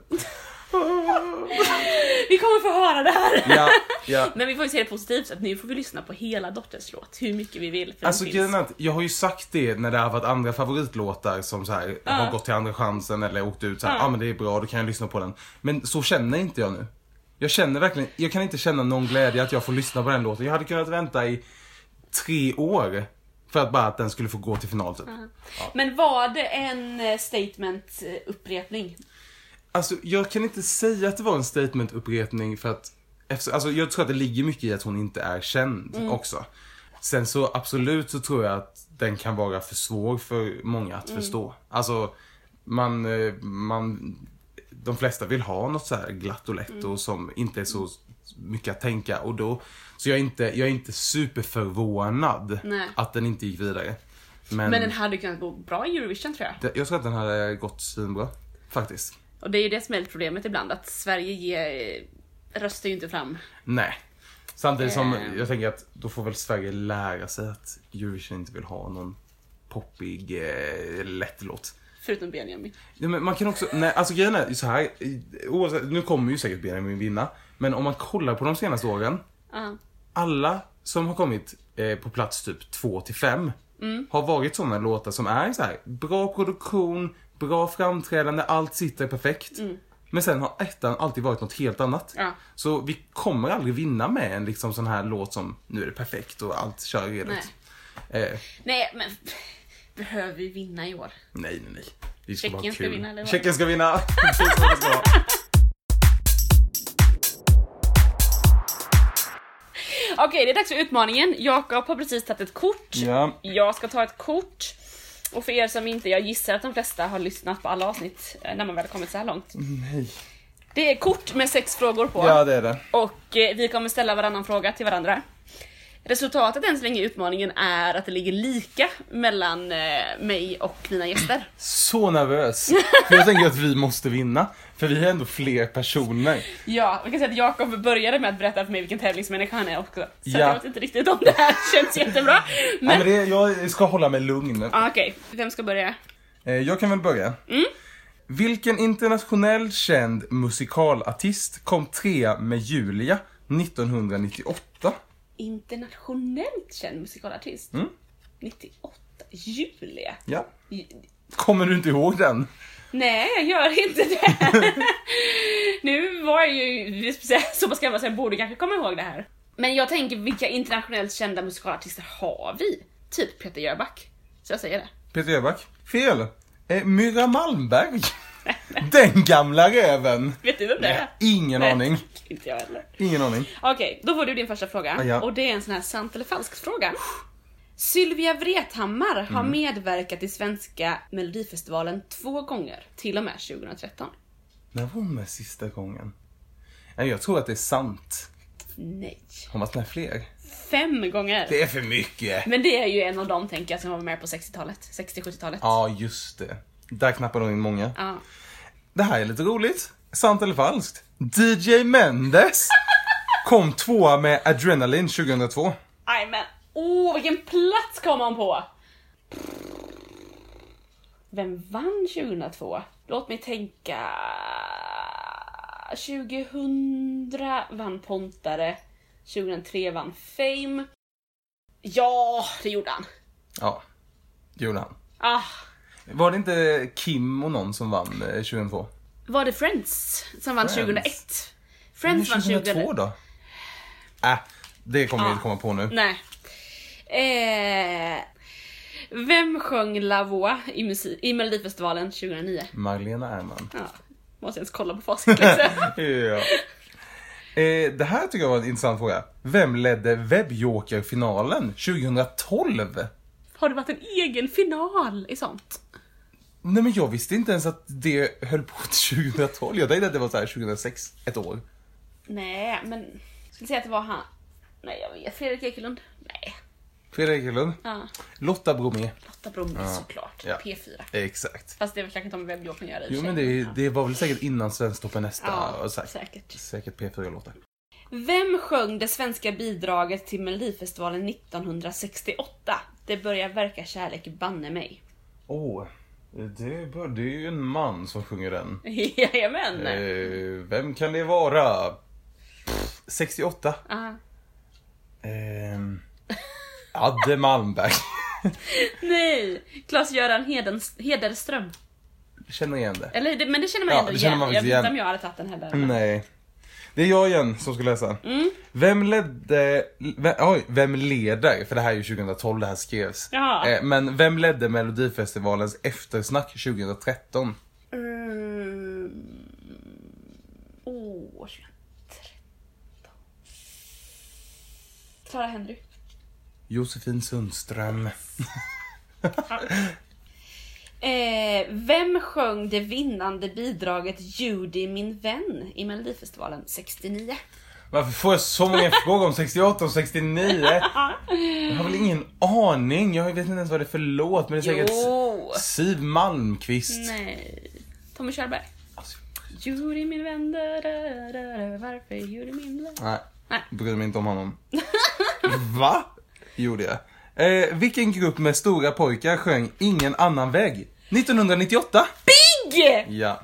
[SPEAKER 3] Vi kommer få höra det här!
[SPEAKER 2] Ja, ja.
[SPEAKER 3] Men vi får ju se det positivt, så att nu får vi lyssna på hela Dotters låt, hur mycket vi vill. För den
[SPEAKER 2] Alltså
[SPEAKER 3] finns.
[SPEAKER 2] grejen är att jag har ju sagt det när det har varit andra favoritlåtar som så här, har gått till andra chansen eller åkt ut så här, ja ah, men det är bra, då kan jag lyssna på den. Men så känner inte jag nu. Jag känner verkligen, jag kan inte känna någon glädje att jag får lyssna på den låten. Jag hade kunnat vänta i tre år för att bara att den skulle få gå till final typ.
[SPEAKER 3] Men var det en eh, statement eh,
[SPEAKER 2] Mm.
[SPEAKER 3] upprepning?
[SPEAKER 2] Alltså jag kan inte säga att det var en statement-upprepning för att efter, alltså, jag tror att det ligger mycket i att hon inte är känd också. Sen så absolut så tror jag att den kan vara för svår för många att förstå. Alltså man, eh, man, de flesta vill ha något så här glatt och lätt och som inte är så mycket att tänka och då, så jag är inte, jag är inte superförvånad
[SPEAKER 3] Nej.
[SPEAKER 2] att den inte gick vidare. Men,
[SPEAKER 3] Men den hade kunnat gå bra i Eurovision tror jag.
[SPEAKER 2] det- jag tror att den hade gått svinbra faktiskt.
[SPEAKER 3] Och det är ju det som är problemet ibland, att Sverige ger, röstar ju inte fram.
[SPEAKER 2] Nej. Samtidigt som
[SPEAKER 3] Eh.
[SPEAKER 2] jag tänker att då får väl Sverige lära sig att Eurovision inte vill ha någon poppig, eh, lätt låt.
[SPEAKER 3] Förutom Benjamin.
[SPEAKER 2] Ja, men man kan också, nej alltså grejen är ju så här, eh, oavsett, nu kommer ju säkert Benjamin vinna, men om man kollar på de senaste åren,
[SPEAKER 3] Ja.
[SPEAKER 2] alla som har kommit eh, på plats typ 2 till 5
[SPEAKER 3] Mm.
[SPEAKER 2] har varit sådana låtar som är så här bra produktion, bra framträdande, allt sitter perfekt. Men sen har ettan alltid varit något helt annat.
[SPEAKER 3] Mm. Ja.
[SPEAKER 2] Så vi kommer aldrig vinna med en liksom sån här låt som nu är det perfekt och allt kör redigt.
[SPEAKER 3] Nej.
[SPEAKER 2] Eh,
[SPEAKER 3] Nej men behöver vi vinna i år?
[SPEAKER 2] nej, nej, nej. Vi ska
[SPEAKER 3] Tjeckien
[SPEAKER 2] bara ha
[SPEAKER 3] ska
[SPEAKER 2] kul.
[SPEAKER 3] vinna, eller vad?
[SPEAKER 2] Tjeckien ska vinna! Precis vad det ska vara.
[SPEAKER 3] Okej, det är dags för utmaningen. Jakob har precis tagit ett kort.
[SPEAKER 2] ja.
[SPEAKER 3] Jag ska ta ett kort. Och för er som inte, jag gissar att de flesta har lyssnat på alla avsnitt eh, när man väl har kommit så här långt.
[SPEAKER 2] Nej.
[SPEAKER 3] Det är kort med sex frågor på.
[SPEAKER 2] Mm. ja, det är det.
[SPEAKER 3] Och eh, vi kommer ställa varannan fråga till varandra. Resultatet än så länge i utmaningen är att det ligger lika mellan eh, mig och mina gäster.
[SPEAKER 2] Så nervös. För jag tänker att vi måste vinna. För vi är ändå fler personer.
[SPEAKER 3] Ja, vi kan säga att Jakob började med att berätta för mig vilken tävlingsmänniska han är också. Så
[SPEAKER 2] Ja.
[SPEAKER 3] jag vet inte riktigt om det här känns jättebra.
[SPEAKER 2] Nej,
[SPEAKER 3] Men...
[SPEAKER 2] men det, jag ska hålla mig lugn.
[SPEAKER 3] Ah, Okej, vem ska börja?
[SPEAKER 2] Eh, Jag kan väl börja.
[SPEAKER 3] Mm.
[SPEAKER 2] Vilken internationell känd musikalartist kom trea med Julia 1998?
[SPEAKER 3] Internationellt känd musikalartist.
[SPEAKER 2] Mm.
[SPEAKER 3] 98. Julia.
[SPEAKER 2] Ja.
[SPEAKER 3] Ju-
[SPEAKER 2] Kommer du inte ihåg den?
[SPEAKER 3] Nej, jag gör inte det. nu var jag ju så pass gammal så jag borde kanske komma ihåg det här. Men jag tänker, vilka internationellt kända musikalartister har vi? Typ Peter Jöback. Så jag säger det.
[SPEAKER 2] Peter Jöback? Fel. Eh, Myra Malmberg. Den gamla räven.
[SPEAKER 3] Vet du vem det är?
[SPEAKER 2] Ingen
[SPEAKER 3] Nej,
[SPEAKER 2] aning.
[SPEAKER 3] Inte jag heller.
[SPEAKER 2] Ingen aning.
[SPEAKER 3] Okej, då får du din första fråga.
[SPEAKER 2] Ah, ja.
[SPEAKER 3] Och det är en sån här sant eller falsk fråga. Sylvia Vrethammar har
[SPEAKER 2] Mm.
[SPEAKER 3] medverkat i svenska melodifestivalen två gånger, till och med 2013.
[SPEAKER 2] När var hon med sista gången? Nej, Jag tror att det är sant.
[SPEAKER 3] Nej.
[SPEAKER 2] Har hon varit med fler?
[SPEAKER 3] Fem gånger!
[SPEAKER 2] Det är för mycket.
[SPEAKER 3] Men det är ju en av dem tänker jag som var med på 60-talet, 60-70-talet.
[SPEAKER 2] Ja, just det. Där knappar de in många.
[SPEAKER 3] Ja.
[SPEAKER 2] Det här är lite roligt. Sant eller falskt? DJ Mendes kom tvåa med Adrenaline 2002.
[SPEAKER 3] Aj, men Åh, vilken plats kom han på! Vem vann 2002? Låt mig tänka... 2000 vann Pontare, 2003 vann Fame. Ja, det gjorde han.
[SPEAKER 2] Ja, det gjorde han.
[SPEAKER 3] Ah,
[SPEAKER 2] Var det inte Kim och någon som vann eh, 2002?
[SPEAKER 3] var det Friends som vann
[SPEAKER 2] Friends?
[SPEAKER 3] 2001?
[SPEAKER 2] Men
[SPEAKER 3] Friends vann
[SPEAKER 2] 2002 då? Äh, det kommer vi inte komma på nu.
[SPEAKER 3] Nej. Eh, vem sjöng La Voix i, musik, i Melodifestivalen 2009?
[SPEAKER 2] Marlena Ärman.
[SPEAKER 3] Ja, måste ens kolla på facit liksom.
[SPEAKER 2] ja. Eh, det här tycker jag var en intressant fråga. Vem ledde webbjokerfinalen 2012?
[SPEAKER 3] Har det varit en egen final i sånt?
[SPEAKER 2] Nej men jag visste inte ens att det höll på till 2012. Jag tänkte att det var så här 2006, ett år.
[SPEAKER 3] Nej, men... Jag skulle säga att det var han... Nej, jag vet. Fredrik Ekelund? Nej.
[SPEAKER 2] Fredrik Ekelund.
[SPEAKER 3] Ja.
[SPEAKER 2] Lotta Bromé.
[SPEAKER 3] Lotta Bromé såklart.
[SPEAKER 2] Ja.
[SPEAKER 3] P4.
[SPEAKER 2] Exakt.
[SPEAKER 3] Fast det är väl kanske inte om vem jag kan göra i och
[SPEAKER 2] Jo
[SPEAKER 3] för
[SPEAKER 2] men
[SPEAKER 3] sig.
[SPEAKER 2] det, det var väl säkert innan Svensktoppen nästa.
[SPEAKER 3] Ja,
[SPEAKER 2] och så här.
[SPEAKER 3] säkert.
[SPEAKER 2] Säkert P4-låtar.
[SPEAKER 3] Vem sjöng det svenska bidraget till Melodifestivalen 1968? Det börjar verka kärlek banne mig.
[SPEAKER 2] Åh, det, bör- det är ju en man som sjunger den.
[SPEAKER 3] Jajamän!
[SPEAKER 2] Eh, vem kan det vara? Pff, 68.
[SPEAKER 3] Aha.
[SPEAKER 2] Ehm, Adde Malmberg.
[SPEAKER 3] Nej! Claes-Göran Hedens- Hederström.
[SPEAKER 2] Känner igen det.
[SPEAKER 3] Eller, det- men det känner man
[SPEAKER 2] Ja,
[SPEAKER 3] ändå
[SPEAKER 2] det känner
[SPEAKER 3] igen.
[SPEAKER 2] man
[SPEAKER 3] jag
[SPEAKER 2] faktiskt
[SPEAKER 3] vet inte
[SPEAKER 2] igen.
[SPEAKER 3] om jag hade tagit den heller.
[SPEAKER 2] Nej. Det är jag igen som ska läsa. Vem ledde... Vem, oj, vem leder? För det här är ju 2012 det här skrevs.
[SPEAKER 3] Ja.
[SPEAKER 2] Eh, men vem ledde Melodifestivalens eftersnack 2013?
[SPEAKER 3] Mm. Åh, 2013. Clara Henry.
[SPEAKER 2] Josefin Sundström.
[SPEAKER 3] Eh, vem sjöng det vinnande bidraget Judy min vän i Melodifestivalen 69?
[SPEAKER 2] Varför får jag så många frågor om 68 och 69? Jag har väl ingen aning. Jag vet inte ens vad det är för låt. Men det är säkert
[SPEAKER 3] Jo.
[SPEAKER 2] Siv Malmqvist.
[SPEAKER 3] Nej. Tommy Körberg.
[SPEAKER 2] Alltså,
[SPEAKER 3] Judy min vän, da, da, da, da, varför Judy min vän?
[SPEAKER 2] nej.
[SPEAKER 3] Nej.
[SPEAKER 2] Bryr mig inte om honom. Va? Gjorde jag. Eh, vilken grupp med stora pojkar sjöng Ingen annan väg? 1998?
[SPEAKER 3] Big!
[SPEAKER 2] Ja.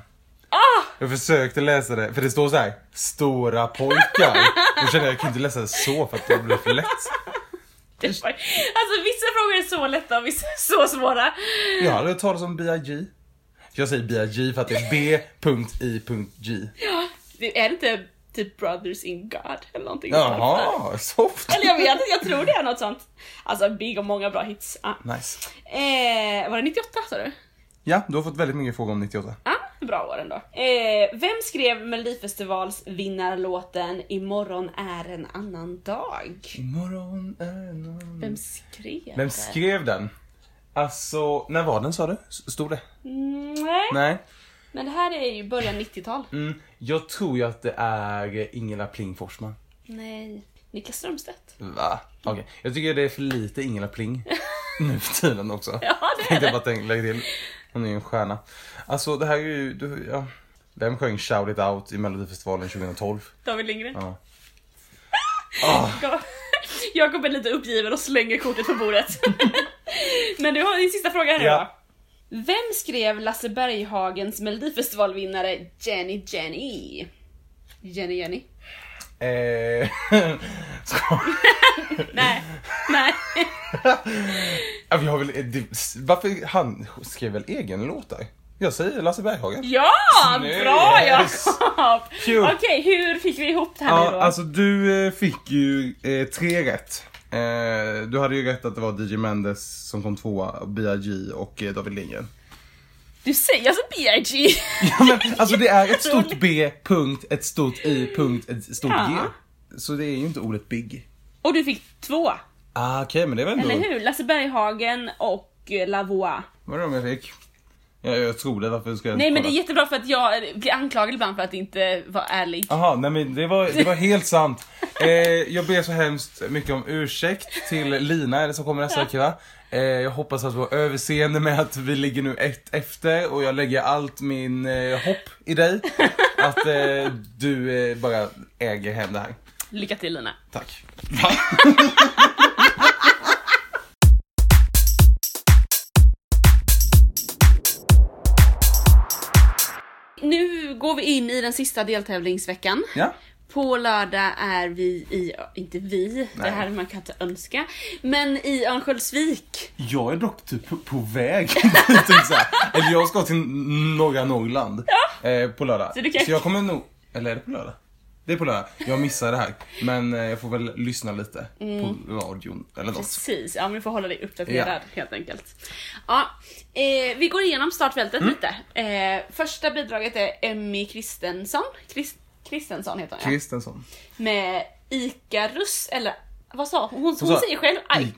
[SPEAKER 3] Ah!
[SPEAKER 2] Jag försökte läsa det, för det står så här. Stora pojkar. Då kände jag, jag kan inte läsa det så för att det blir för lätt.
[SPEAKER 3] Det var... Alltså vissa frågor är så lätta och vissa är så svåra.
[SPEAKER 2] Jag har aldrig hört talas om B.I.G. Jag säger B.I.G. för att det är B.I.G.
[SPEAKER 3] Det- Är det inte typ Brothers in God eller någonting?
[SPEAKER 2] Jaha, soft.
[SPEAKER 3] Eller jag vet inte, jag tror det är något sånt. Alltså Big och många bra hits. Ah.
[SPEAKER 2] Nice.
[SPEAKER 3] Eh, var det 98 sa du?
[SPEAKER 2] Ja, du har fått väldigt mycket frågor om 98.
[SPEAKER 3] Ah, bra år ändå. Eh, vem skrev Melodifestivalsvinnarlåten Imorgon är en annan dag?
[SPEAKER 2] Imorgon är en annan-
[SPEAKER 3] Vem skrev
[SPEAKER 2] Vem
[SPEAKER 3] den?
[SPEAKER 2] skrev den? Alltså, när var den sa du? S- Stod det?
[SPEAKER 3] Mm, nej.
[SPEAKER 2] Nej.
[SPEAKER 3] men det här är ju början 90-tal.
[SPEAKER 2] Mm, jag tror ju att det är Ingela Pling Forsman.
[SPEAKER 3] Nej. Niklas Strömstedt.
[SPEAKER 2] Va? Okej, jag tycker det är för lite Ingela Pling nu för tiden också.
[SPEAKER 3] Ja, det är
[SPEAKER 2] Tänkte jag
[SPEAKER 3] det.
[SPEAKER 2] bara tänka, lägga till. Hon är ju en stjärna. Alltså det här är ju, du, ja. Vem sjöng Shout It Out i Melodifestivalen 2012?
[SPEAKER 3] David Lindgren.
[SPEAKER 2] Ja. Ah.
[SPEAKER 3] Ja. Jakob är lite uppgiven och slänger kortet på bordet. Men du har din sista fråga här
[SPEAKER 2] Ja.
[SPEAKER 3] idag. Vem skrev Lasse Berghagens melodifestivalvinnare Jenny Jenny? Jenny Jenny?
[SPEAKER 2] Eh, ska,
[SPEAKER 3] Nej, nej.
[SPEAKER 2] Ja, vi har väl, eh, det, varför, han skrev väl egen låtar? Jag säger Lasse Berghagen.
[SPEAKER 3] Ja,
[SPEAKER 2] Snyggt.
[SPEAKER 3] bra Jakob!
[SPEAKER 2] Kul.
[SPEAKER 3] Okej, hur fick vi ihop det här nu
[SPEAKER 2] Ja,
[SPEAKER 3] då?
[SPEAKER 2] alltså du eh, fick ju eh, tre rätt. Eh, du hade ju rätt att det var DJ Mendes som kom tvåa, B.I.G och eh, David Lindgren.
[SPEAKER 3] Du säger alltså B.I.G.
[SPEAKER 2] Ja, men, alltså det är ett stort B, punkt, ett stort I, punkt, ett stort
[SPEAKER 3] Ja.
[SPEAKER 2] G. Så det är ju inte ordet big.
[SPEAKER 3] och du fick två,
[SPEAKER 2] Ah, Okej, men det var
[SPEAKER 3] eller
[SPEAKER 2] ändå...
[SPEAKER 3] hur? Lasse Berghagen och eh, Lavoie.
[SPEAKER 2] Vad är det jag fick? Ja, jag tror det, varför ska jag
[SPEAKER 3] Nej men det
[SPEAKER 2] kolla?
[SPEAKER 3] är jättebra för att jag blir anklagad ibland för att inte vara ärlig.
[SPEAKER 2] Jaha, nej men det var, det var helt sant. Eh, jag ber så hemskt mycket om ursäkt till Lina eller som kommer nästa vecka. Eh, jag hoppas att du har överseende med att vi ligger nu ett efter och jag lägger allt min eh, hopp i dig. Att eh, du eh, bara äger hem det här.
[SPEAKER 3] Lycka till Lina.
[SPEAKER 2] Tack.
[SPEAKER 3] Nu går vi in i den sista deltävlingsveckan.
[SPEAKER 2] Ja,
[SPEAKER 3] På lördag är vi i, inte vi, det
[SPEAKER 2] Nej.
[SPEAKER 3] här man kan inte önska, men i Örnsköldsvik.
[SPEAKER 2] jag är dock typ på, på väg dit, typ så här. Eller jag ska till norra Norrland eh, på lördag.
[SPEAKER 3] Så du kan-
[SPEAKER 2] så jag kommer nog, eller är det på lördag? Det är på lördag. Jag missar det här. Men eh, jag får väl lyssna lite på radion eller
[SPEAKER 3] Mm.
[SPEAKER 2] något.
[SPEAKER 3] Precis, ja men vi får hålla dig uppdaterad
[SPEAKER 2] Ja.
[SPEAKER 3] helt enkelt. Ja, eh,
[SPEAKER 2] Mm.
[SPEAKER 3] vi går igenom startfältet lite. Eh, första bidraget är Emmy Kristensson. Krist- Kristensson heter hon ja.
[SPEAKER 2] Kristensson.
[SPEAKER 3] Med Icarus, eller vad sa hon? Hon,
[SPEAKER 2] Hon
[SPEAKER 3] hon,
[SPEAKER 2] sa-
[SPEAKER 3] säger själv I-
[SPEAKER 2] I-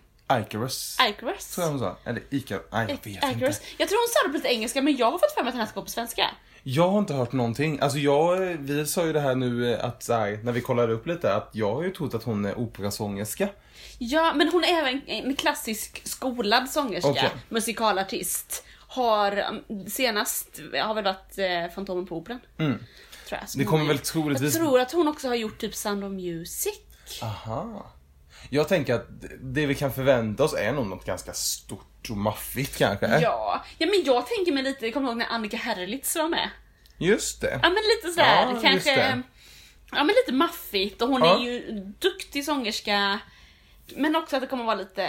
[SPEAKER 2] Icarus.
[SPEAKER 3] Icarus.
[SPEAKER 2] Tror jag hon sa. Eller Icar... Nej, jag vet inte.
[SPEAKER 3] Icarus. Jag tror hon sa det på lite engelska men jag har fått för mig att den här ska gå på svenska.
[SPEAKER 2] Jag har inte hört någonting. Alltså jag, eh, vi sa ju det här nu eh, att så här, när vi kollade upp lite att jag har ju trott att hon är operasångerska.
[SPEAKER 3] Ja, men hon är även en klassisk skolad sångerska,
[SPEAKER 2] Okej.
[SPEAKER 3] musikalartist. Har um, senast har väl varit eh, Fantomen på Operan. Tror jag, som
[SPEAKER 2] Mm. Det
[SPEAKER 3] hon
[SPEAKER 2] kommer
[SPEAKER 3] har
[SPEAKER 2] väl
[SPEAKER 3] gjort.
[SPEAKER 2] troligtvis-
[SPEAKER 3] Jag tror att hon också har gjort typ Sound of Music.
[SPEAKER 2] Aha. Jag tänker att det vi kan förvänta oss är nog något ganska stort och maffigt kanske.
[SPEAKER 3] Ja. ja, men jag tänker mig lite, kommer du ihåg när Annika Herlitz var med?
[SPEAKER 2] Just det.
[SPEAKER 3] Ja men lite sådär,
[SPEAKER 2] Ja, just
[SPEAKER 3] kanske
[SPEAKER 2] det.
[SPEAKER 3] Ja men lite maffigt och hon
[SPEAKER 2] Ja.
[SPEAKER 3] är ju duktig sångerska Men också att det kommer vara lite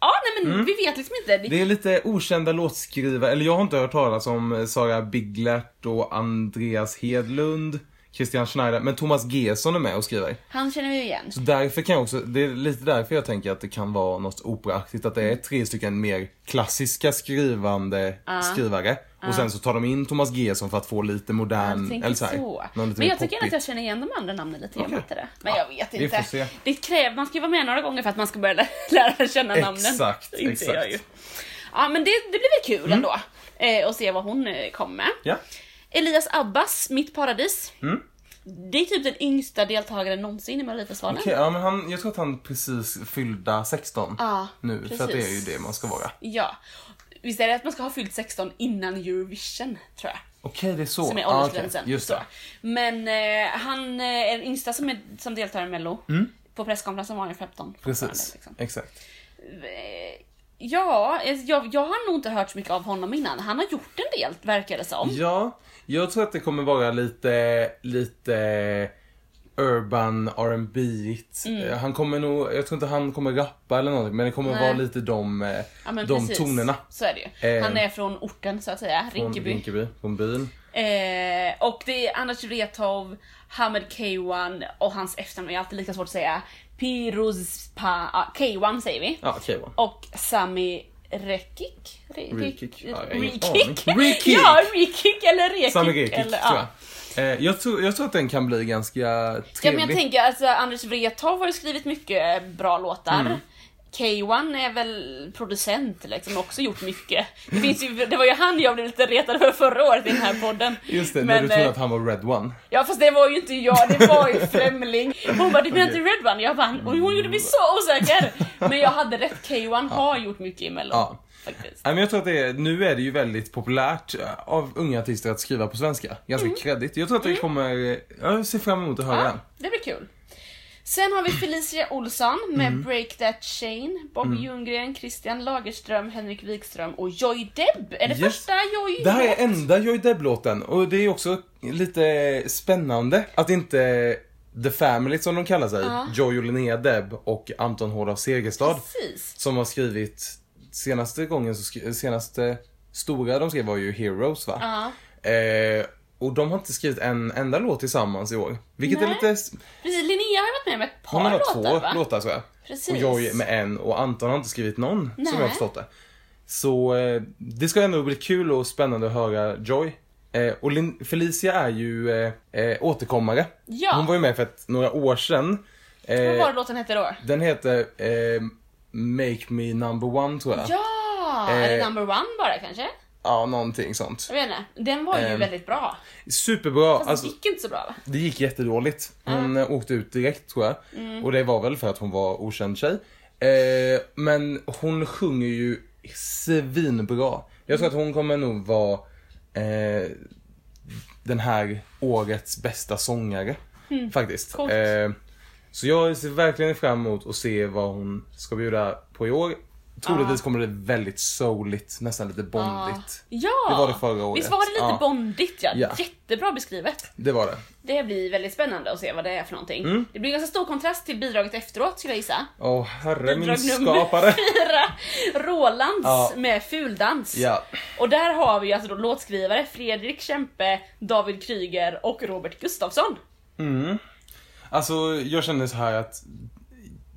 [SPEAKER 3] Ja nej men vi vet liksom inte det...
[SPEAKER 2] Mm. Det är lite okända låtskrivare, eller jag har inte hört talas om eh, Sara Biglert och Andreas Hedlund, Christian Schneider, men Thomas Gesson är med och skriver.
[SPEAKER 3] Han känner vi ju igen
[SPEAKER 2] Så därför kan jag också, det är lite därför jag tänker att det kan vara något operaaktigt, att det är tre stycken mer klassiska skrivande skrivare. Och sen så tar de in Thomas Gesson för att få lite
[SPEAKER 3] Jag
[SPEAKER 2] modern,
[SPEAKER 3] tänker
[SPEAKER 2] Ehm, eller så här,
[SPEAKER 3] så.
[SPEAKER 2] någon lite
[SPEAKER 3] Men
[SPEAKER 2] mer
[SPEAKER 3] jag tycker
[SPEAKER 2] poppig.
[SPEAKER 3] att jag känner igen de andra namnen lite i
[SPEAKER 2] Okej.
[SPEAKER 3] okay. det. Men jag vet
[SPEAKER 2] vi får se.
[SPEAKER 3] inte. Det kräver, man ska ju vara med några gånger för att man ska börja lä- lära känna namnen.
[SPEAKER 2] Exakt,
[SPEAKER 3] Det inser
[SPEAKER 2] exakt. Mm.
[SPEAKER 3] jag ju. Ja men det, det blir väl kul ändå. Eh, och se vad hon eh, kommer med.
[SPEAKER 2] Ja.
[SPEAKER 3] Elias Abbas, Mitt paradis.
[SPEAKER 2] Mm.
[SPEAKER 3] Det är typ den yngsta deltagaren någonsin i Melodifestivalen.
[SPEAKER 2] Okej, ja men han, jag tror att han precis fyllda 16
[SPEAKER 3] Ja,
[SPEAKER 2] nu, för att det är ju
[SPEAKER 3] precis.
[SPEAKER 2] det man ska vara.
[SPEAKER 3] Ja. Visst är det att man ska ha fyllt 16 innan Eurovision, tror jag.
[SPEAKER 2] Okej, det är så.
[SPEAKER 3] Som är
[SPEAKER 2] Ah, okej.
[SPEAKER 3] åldersgränsen.
[SPEAKER 2] Just
[SPEAKER 3] så.
[SPEAKER 2] det.
[SPEAKER 3] Men eh, han eh, är den yngsta som, är, som deltar i Mello. På presskonferensen var han ju 15. fortfarande,
[SPEAKER 2] Mm. Precis,
[SPEAKER 3] liksom.
[SPEAKER 2] exakt.
[SPEAKER 3] Eh, Ja, eh, jag, jag har nog inte hört så mycket av honom innan. Han har gjort en del, verkar det som.
[SPEAKER 2] Ja, jag tror att det kommer vara lite, lite urban rb mm. Han kommer nog, jag tror inte han kommer rappa eller någonting, men det kommer
[SPEAKER 3] Nej.
[SPEAKER 2] vara lite de, eh,
[SPEAKER 3] Ja, men
[SPEAKER 2] de
[SPEAKER 3] precis.
[SPEAKER 2] tonerna.
[SPEAKER 3] Så är det ju.
[SPEAKER 2] Eh,
[SPEAKER 3] Han är från orten så att säga, Rinkeby.
[SPEAKER 2] Från Rinkeby, från byn.
[SPEAKER 3] Eh, och det är Anders Wrethov, Hamed K1 och hans efternamn är alltid lika svårt att säga. Pirozpa... ja, K1 säger vi.
[SPEAKER 2] Ja, okej va.
[SPEAKER 3] Och Sami Rekik? Re-
[SPEAKER 2] Rekik? Ja, jag har ingen
[SPEAKER 3] Rekik?
[SPEAKER 2] aning. Rekik!
[SPEAKER 3] Ja, Rekik eller Rekik.
[SPEAKER 2] Sami Rekik,
[SPEAKER 3] eller,
[SPEAKER 2] tror
[SPEAKER 3] ja.
[SPEAKER 2] jag. Eh, jag, tror, jag tror att den kan bli ganska trevlig.
[SPEAKER 3] Ja, men jag tänker alltså Anders Wrethov har ju skrivit mycket eh, bra låtar.
[SPEAKER 2] Mm.
[SPEAKER 3] K1 är väl producent liksom, och också gjort mycket. Det, finns ju, det var ju han jag blev lite retad för förra året i den här podden.
[SPEAKER 2] Just det, när
[SPEAKER 3] Men,
[SPEAKER 2] du trodde
[SPEAKER 3] eh,
[SPEAKER 2] att han var Red One.
[SPEAKER 3] Ja fast det var ju inte jag, det var ju Främling. Hon bara, du menar inte
[SPEAKER 2] Okej.
[SPEAKER 3] Red One? Jag bara, och hon gjorde mig så osäker. Men jag hade rätt, K1 har gjort mycket i Mello.
[SPEAKER 2] Ja.
[SPEAKER 3] Faktiskt.
[SPEAKER 2] Nej, men jag tror att det är, nu är det ju väldigt populärt eh, av unga artister att skriva på svenska. Ganska kreddigt. Jag tror att det kommer, eh, jag ser fram emot att höra
[SPEAKER 3] Mm. Ja,
[SPEAKER 2] den.
[SPEAKER 3] det blir kul. Sen har vi Felicia Olsson med
[SPEAKER 2] Mm.
[SPEAKER 3] Break That Chain, Bob Ljunggren, Christian Lagerström, Henrik Wikström och Joy Deb. Är det
[SPEAKER 2] Just-
[SPEAKER 3] första Joy
[SPEAKER 2] Det här är enda Joy Deb-låten och det är också lite spännande att inte The Family som de kallar sig, Joy och Linnea Deb och Anton Hård av Segerstad
[SPEAKER 3] Precis.
[SPEAKER 2] som har skrivit senaste gången, så skri- senaste stora de skrev var ju Heroes va?
[SPEAKER 3] Ja.
[SPEAKER 2] Eh, och de har inte skrivit en enda låt tillsammans i år. Vilket är
[SPEAKER 3] Nej.
[SPEAKER 2] lite... s-
[SPEAKER 3] Precis, Linnea har ju varit med med ett par
[SPEAKER 2] Hon har
[SPEAKER 3] låtar
[SPEAKER 2] två
[SPEAKER 3] va?
[SPEAKER 2] låtar tror jag.
[SPEAKER 3] Precis.
[SPEAKER 2] Och jag med en och Anton har inte skrivit någon
[SPEAKER 3] Nej.
[SPEAKER 2] som jag har förstått det. Så eh, det ska ändå bli kul och spännande att höra Joy. Eh, och Lin- Felicia är ju eh, eh, återkommare.
[SPEAKER 3] Ja.
[SPEAKER 2] Hon var ju med för ett, några år sedan.
[SPEAKER 3] Vad var
[SPEAKER 2] Eh,
[SPEAKER 3] det låten hette då?
[SPEAKER 2] den heter eh, Make Me Number One tror jag.
[SPEAKER 3] Ja, eller
[SPEAKER 2] Eh.
[SPEAKER 3] number one bara kanske?
[SPEAKER 2] Ja, någonting sånt.
[SPEAKER 3] Jag vet inte. Den var ju
[SPEAKER 2] Ehm.
[SPEAKER 3] väldigt bra.
[SPEAKER 2] Superbra.
[SPEAKER 3] Fast
[SPEAKER 2] Alltså,
[SPEAKER 3] det gick inte så bra va?
[SPEAKER 2] Det gick jättedåligt. Hon eh, åkte ut direkt tror jag. Och det var väl för att hon var okänd tjej. Eh, men hon sjunger ju svinbra. Jag tror att hon kommer nog vara eh, den här årets bästa sångare. Faktiskt.
[SPEAKER 3] Coolt.
[SPEAKER 2] Eh, så jag ser verkligen fram emot att se vad hon ska bjuda på i år. Troligtvis kommer det bli väldigt souligt, nästan lite bondigt.
[SPEAKER 3] Ja!
[SPEAKER 2] Det var det förra året.
[SPEAKER 3] Visst var det lite
[SPEAKER 2] Ja.
[SPEAKER 3] bondigt ja.
[SPEAKER 2] Ja.
[SPEAKER 3] Jättebra beskrivet.
[SPEAKER 2] Det var det.
[SPEAKER 3] Det blir väldigt spännande att se vad det är för någonting.
[SPEAKER 2] Mm.
[SPEAKER 3] Det blir ganska stor kontrast till bidraget efteråt skulle jag gissa.
[SPEAKER 2] Åh herre min
[SPEAKER 3] Bidrag
[SPEAKER 2] skapare.
[SPEAKER 3] fyra, Rolands
[SPEAKER 2] Ja.
[SPEAKER 3] med Fuldans.
[SPEAKER 2] Ja.
[SPEAKER 3] Och där har vi ju alltså då låtskrivare Fredrik Kempe, David Kryger och Robert Gustafsson.
[SPEAKER 2] Alltså jag känner så här att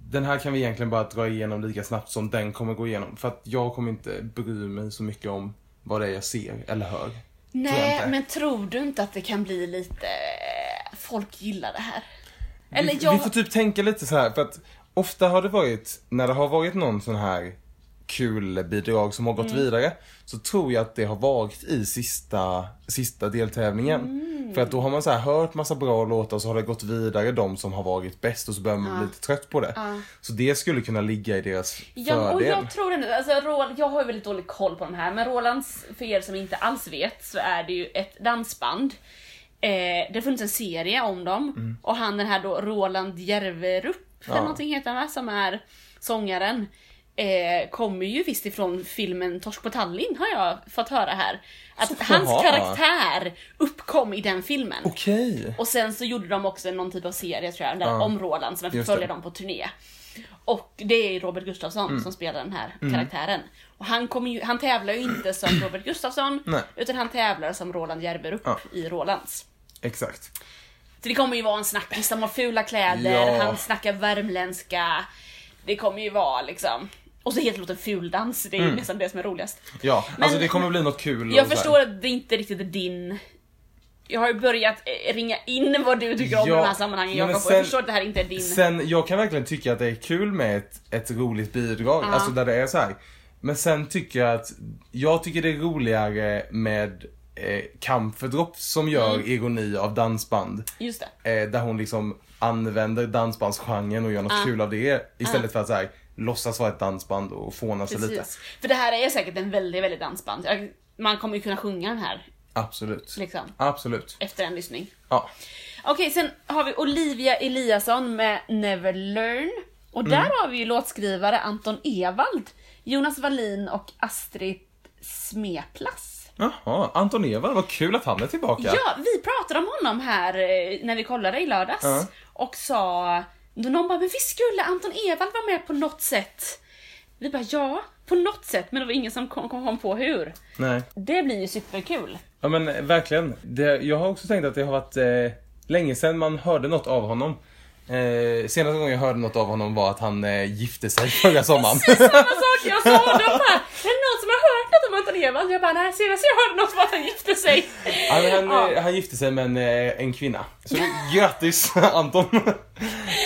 [SPEAKER 2] den här kan vi egentligen bara dra igenom lika snabbt som den kommer gå igenom. För att jag kommer inte bry mig så mycket om vad det är jag ser eller hör. Tror jag
[SPEAKER 3] Nej,
[SPEAKER 2] inte.
[SPEAKER 3] men tror du inte att det kan bli lite eh, folk gillar det här.
[SPEAKER 2] vi, vi får typ tänka lite så här för att ofta har det varit, när det har varit någon sån här kul bidrag som har gått
[SPEAKER 3] Mm.
[SPEAKER 2] vidare så tror jag att det har varit i sista, sista deltävlingen.
[SPEAKER 3] Mm.
[SPEAKER 2] För att då har man så här hört massa bra låtar och så har det gått vidare de som har varit bäst och så börjar man bli lite trött på det. Så det skulle kunna ligga i deras
[SPEAKER 3] Ja, och
[SPEAKER 2] fördel.
[SPEAKER 3] jag tror ändå, alltså, Roland, jag har ju väldigt dålig koll på de här, men Rolands, för er som inte alls vet, så är det ju ett dansband. Eh, det har funnits en serie om dem, och han den här då Roland Järverup, eller
[SPEAKER 2] Mm. Ja.
[SPEAKER 3] någonting heter han va, som är sångaren, eh, kommer ju visst ifrån filmen Torsk på Tallinn, har jag fått höra här. Att hans
[SPEAKER 2] Jaha.
[SPEAKER 3] karaktär uppkom i den filmen.
[SPEAKER 2] Okej.
[SPEAKER 3] Och sen så gjorde de också någon typ av serie tror jag, där
[SPEAKER 2] Ja.
[SPEAKER 3] om Roland som fick
[SPEAKER 2] Just
[SPEAKER 3] följa
[SPEAKER 2] det. Mm.
[SPEAKER 3] dem på turné. Och det är ju Robert Gustafsson som spelar den här karaktären. Och han, kommer ju, han tävlar ju inte som Robert Gustafsson,
[SPEAKER 2] Nej.
[SPEAKER 3] utan han tävlar som Roland Gerberup
[SPEAKER 2] Ja.
[SPEAKER 3] i Rolands.
[SPEAKER 2] Exakt.
[SPEAKER 3] Så det kommer ju vara en snackis, han har fula kläder,
[SPEAKER 2] Ja.
[SPEAKER 3] han snackar värmländska. Det kommer ju vara liksom... Och så heter låten Fuldans, det är ju
[SPEAKER 2] Mm.
[SPEAKER 3] nästan det som är roligast.
[SPEAKER 2] Ja, alltså
[SPEAKER 3] Men-
[SPEAKER 2] det kommer bli något kul.
[SPEAKER 3] Jag
[SPEAKER 2] och så här.
[SPEAKER 3] förstår att det inte riktigt är din... Jag har ju börjat eh, ringa in vad du tycker om
[SPEAKER 2] Ja,
[SPEAKER 3] i de här sammanhangen
[SPEAKER 2] men
[SPEAKER 3] Jakob, och
[SPEAKER 2] sen-
[SPEAKER 3] jag förstår att det här inte är din...
[SPEAKER 2] Sen, jag kan verkligen tycka att det är kul med ett, ett roligt bidrag, alltså där det är så här. Men sen tycker jag att, jag tycker det är roligare med eh, Kampferdropp som gör
[SPEAKER 3] Mm.
[SPEAKER 2] ironi av dansband.
[SPEAKER 3] Just det.
[SPEAKER 2] Eh, där hon liksom använder dansbandsgenren och gör något kul av det istället för att så här, låtsas vara ett dansband och fåna sig lite.
[SPEAKER 3] Precis. För det här är säkert en väldigt, väldigt dansband. Jag- Man kommer ju kunna sjunga den här
[SPEAKER 2] Absolut.
[SPEAKER 3] Liksom.
[SPEAKER 2] Absolut.
[SPEAKER 3] efter en lyssning.
[SPEAKER 2] Ja.
[SPEAKER 3] Okej, sen har vi Olivia Eliasson med Never Learn. Och
[SPEAKER 2] Mm.
[SPEAKER 3] där har vi ju låtskrivare Anton Ewald, Jonas Wallin och Astrid Smeplas.
[SPEAKER 2] Jaha, Anton Ewald, vad kul att han är tillbaka.
[SPEAKER 3] Ja, vi pratade om honom här eh, när vi kollade i lördags
[SPEAKER 2] Ja.
[SPEAKER 3] och sa, då någon bara, men vi skulle Anton Ewald vara med på något sätt. Vi bara, ja, på något sätt, men det var ingen som kom, kom på hur.
[SPEAKER 2] Nej.
[SPEAKER 3] Det blir ju superkul.
[SPEAKER 2] Ja men eh, verkligen. Det, jag har också tänkt att det har varit eh, länge sedan man hörde något av honom. Eh, senaste gången jag hörde något av honom var att han eh, gifte sig förra sommaren.
[SPEAKER 3] Precis samma sak jag sa, och de bara, är det någon som har hört något om Anton Ewald? Jag bara, nej, senast jag hörde något var att han gifte sig.
[SPEAKER 2] han, han,
[SPEAKER 3] Ja.
[SPEAKER 2] eh, han gifte sig med en, eh, en kvinna. Så det- grattis Anton!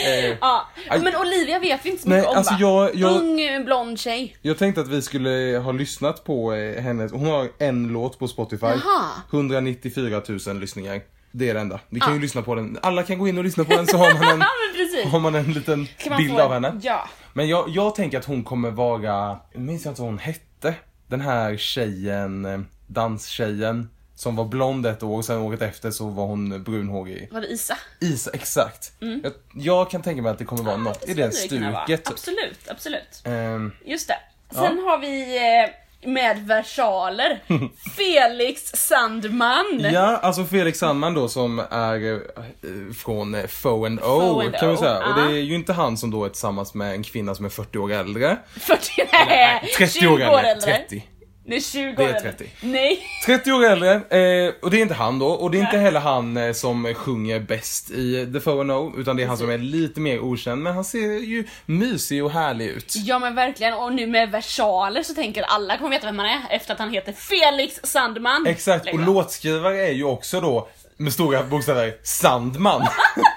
[SPEAKER 2] eh,
[SPEAKER 3] Ja,
[SPEAKER 2] Aj.
[SPEAKER 3] men Olivia vet vi inte så
[SPEAKER 2] Nej,
[SPEAKER 3] mycket om
[SPEAKER 2] alltså
[SPEAKER 3] va?
[SPEAKER 2] jag- jag-
[SPEAKER 3] Ung eh, blond tjej.
[SPEAKER 2] jag tänkte att vi skulle ha lyssnat på eh, hennes, hon har en låt på Spotify.
[SPEAKER 3] Jaha.
[SPEAKER 2] 194 000 lyssningar. Det är det enda. Vi kan ju lyssna på den, alla kan gå in och lyssna på den så har man en,
[SPEAKER 3] Ja men precis.
[SPEAKER 2] har man en liten
[SPEAKER 3] Kan man
[SPEAKER 2] bild
[SPEAKER 3] få en-
[SPEAKER 2] av henne.
[SPEAKER 3] Ja.
[SPEAKER 2] Men jag, jag tänker att hon kommer vara, jag minns inte vad hon hette, den här tjejen, eh, danstjejen som var blond ett år och sen året efter så var hon brunhårig.
[SPEAKER 3] Var det Isa?
[SPEAKER 2] Is, exakt. Jag, jag kan tänka mig att det kommer vara något i det
[SPEAKER 3] skulle Mm. det kunna vara.
[SPEAKER 2] stuket. typ.
[SPEAKER 3] Absolut, absolut.
[SPEAKER 2] Ehm,
[SPEAKER 3] Just det. Sen har vi eh, med versaler Felix Sandman.
[SPEAKER 2] ja, alltså Felix Sandman då som är eh, från eh, Fo and O
[SPEAKER 3] Fo and
[SPEAKER 2] kan man
[SPEAKER 3] O,
[SPEAKER 2] säga. Och
[SPEAKER 3] ja.
[SPEAKER 2] det är ju inte han som då är tillsammans med en kvinna som är 40 år
[SPEAKER 3] Eh,
[SPEAKER 2] äldre.
[SPEAKER 3] 40, nej,
[SPEAKER 2] 30 år äldre. 30.
[SPEAKER 3] Nej, 20
[SPEAKER 2] Det
[SPEAKER 3] år
[SPEAKER 2] är
[SPEAKER 3] äldre.
[SPEAKER 2] 30.
[SPEAKER 3] Nej.
[SPEAKER 2] 30 år äldre, eh, och det är inte han då, och det är inte heller han eh, som sjunger bäst i The 4NO, utan det är han som är lite mer okänd, men han ser ju mysig och härlig ut.
[SPEAKER 3] Ja men verkligen, och nu med versaler så tänker alla kommer veta vem han är efter att han heter Felix Sandman.
[SPEAKER 2] Exakt, och
[SPEAKER 3] Lägg av.
[SPEAKER 2] låtskrivare är ju också då, med stora bokstäver, Sandman.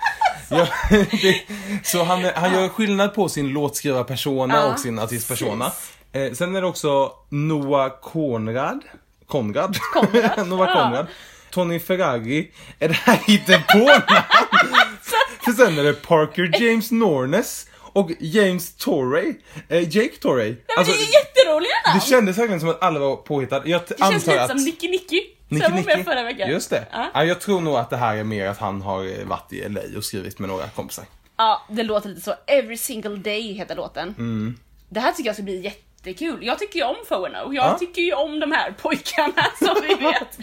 [SPEAKER 2] Ja, det, så han, han gör skillnad på sin låtskrivarpersona
[SPEAKER 3] Ja,
[SPEAKER 2] och sin artistpersona. Eh, sen är det också Noah Konrad. Konrad?
[SPEAKER 3] Konrad,
[SPEAKER 2] Noah
[SPEAKER 3] ja.
[SPEAKER 2] Konrad. Tony Ferrari. Är det här inte på För sen är det Parker James Nornes och James Torrey. Eh, Jake Torrey.
[SPEAKER 3] Nej,
[SPEAKER 2] Alltså,
[SPEAKER 3] men det är ju jätteroliga namn!
[SPEAKER 2] det kändes verkligen som att alla var påhittade. Jag
[SPEAKER 3] Det känns
[SPEAKER 2] antar
[SPEAKER 3] lite
[SPEAKER 2] att...
[SPEAKER 3] som Nicky Nicky,
[SPEAKER 2] Nicky
[SPEAKER 3] som var
[SPEAKER 2] Nicky.
[SPEAKER 3] med förra veckan.
[SPEAKER 2] Just det.
[SPEAKER 3] Ja.
[SPEAKER 2] Ja, jag tror nog att det här är mer att han har eh, varit i LA och skrivit med några kompisar.
[SPEAKER 3] Ja, det låter lite så. Every single day heter låten.
[SPEAKER 2] Mm.
[SPEAKER 3] Det här tycker jag ska bli jättekul. Jag tycker ju om Fono. Jag
[SPEAKER 2] Ja.
[SPEAKER 3] tycker ju om de här pojkarna som vi vet.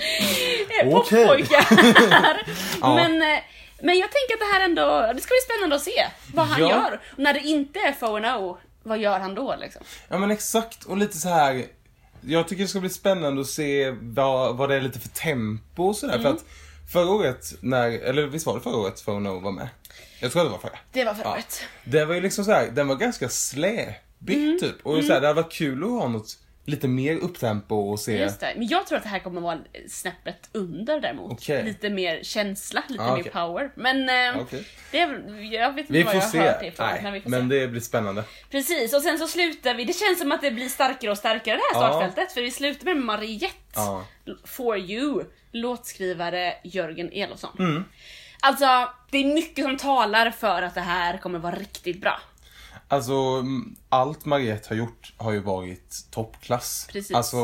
[SPEAKER 3] Eh,
[SPEAKER 2] Okej.
[SPEAKER 3] Poppojkar.
[SPEAKER 2] Ja.
[SPEAKER 3] men, eh, men jag tänker att det här ändå, det ska bli spännande att se vad han
[SPEAKER 2] Ja.
[SPEAKER 3] gör. Och när det inte är Fono, vad gör han då liksom?
[SPEAKER 2] Ja men exakt och lite så här. Jag tycker det ska bli spännande att se vad, vad det är lite för tempo och sådär.
[SPEAKER 3] Mm.
[SPEAKER 2] För att förra året, när, eller visst var det förra året 4NO var med? Jag tror det var förra.
[SPEAKER 3] Det var förra
[SPEAKER 2] Ja.
[SPEAKER 3] året. Mm.
[SPEAKER 2] Det var ju liksom så här, den var ganska släpig typ. Och så här, det hade varit kul att ha något lite mer upptempo och se...
[SPEAKER 3] Just det. Men jag tror att det här kommer vara snäppet under däremot.
[SPEAKER 2] Okej.
[SPEAKER 3] Lite mer känsla, lite
[SPEAKER 2] Ah,
[SPEAKER 3] mer
[SPEAKER 2] okej.
[SPEAKER 3] power. Men eh,
[SPEAKER 2] Okej.
[SPEAKER 3] det är, väl- jag vet inte
[SPEAKER 2] Vi
[SPEAKER 3] vad
[SPEAKER 2] får
[SPEAKER 3] jag har
[SPEAKER 2] se.
[SPEAKER 3] hört det ifrån.
[SPEAKER 2] Nej,
[SPEAKER 3] men vi får
[SPEAKER 2] men
[SPEAKER 3] se.
[SPEAKER 2] det blir spännande.
[SPEAKER 3] Precis, och sen så slutar vi. Det känns som att det blir starkare och starkare det här
[SPEAKER 2] Ja.
[SPEAKER 3] startfältet. För vi slutar med Mariette.
[SPEAKER 2] Ja.
[SPEAKER 3] For you, låtskrivare Jörgen Elofsson.
[SPEAKER 2] Mm.
[SPEAKER 3] Alltså, det är mycket som talar för att det här kommer vara riktigt bra.
[SPEAKER 2] Alltså, mm, allt Mariette har gjort har ju varit toppklass.
[SPEAKER 3] Precis.
[SPEAKER 2] Alltså,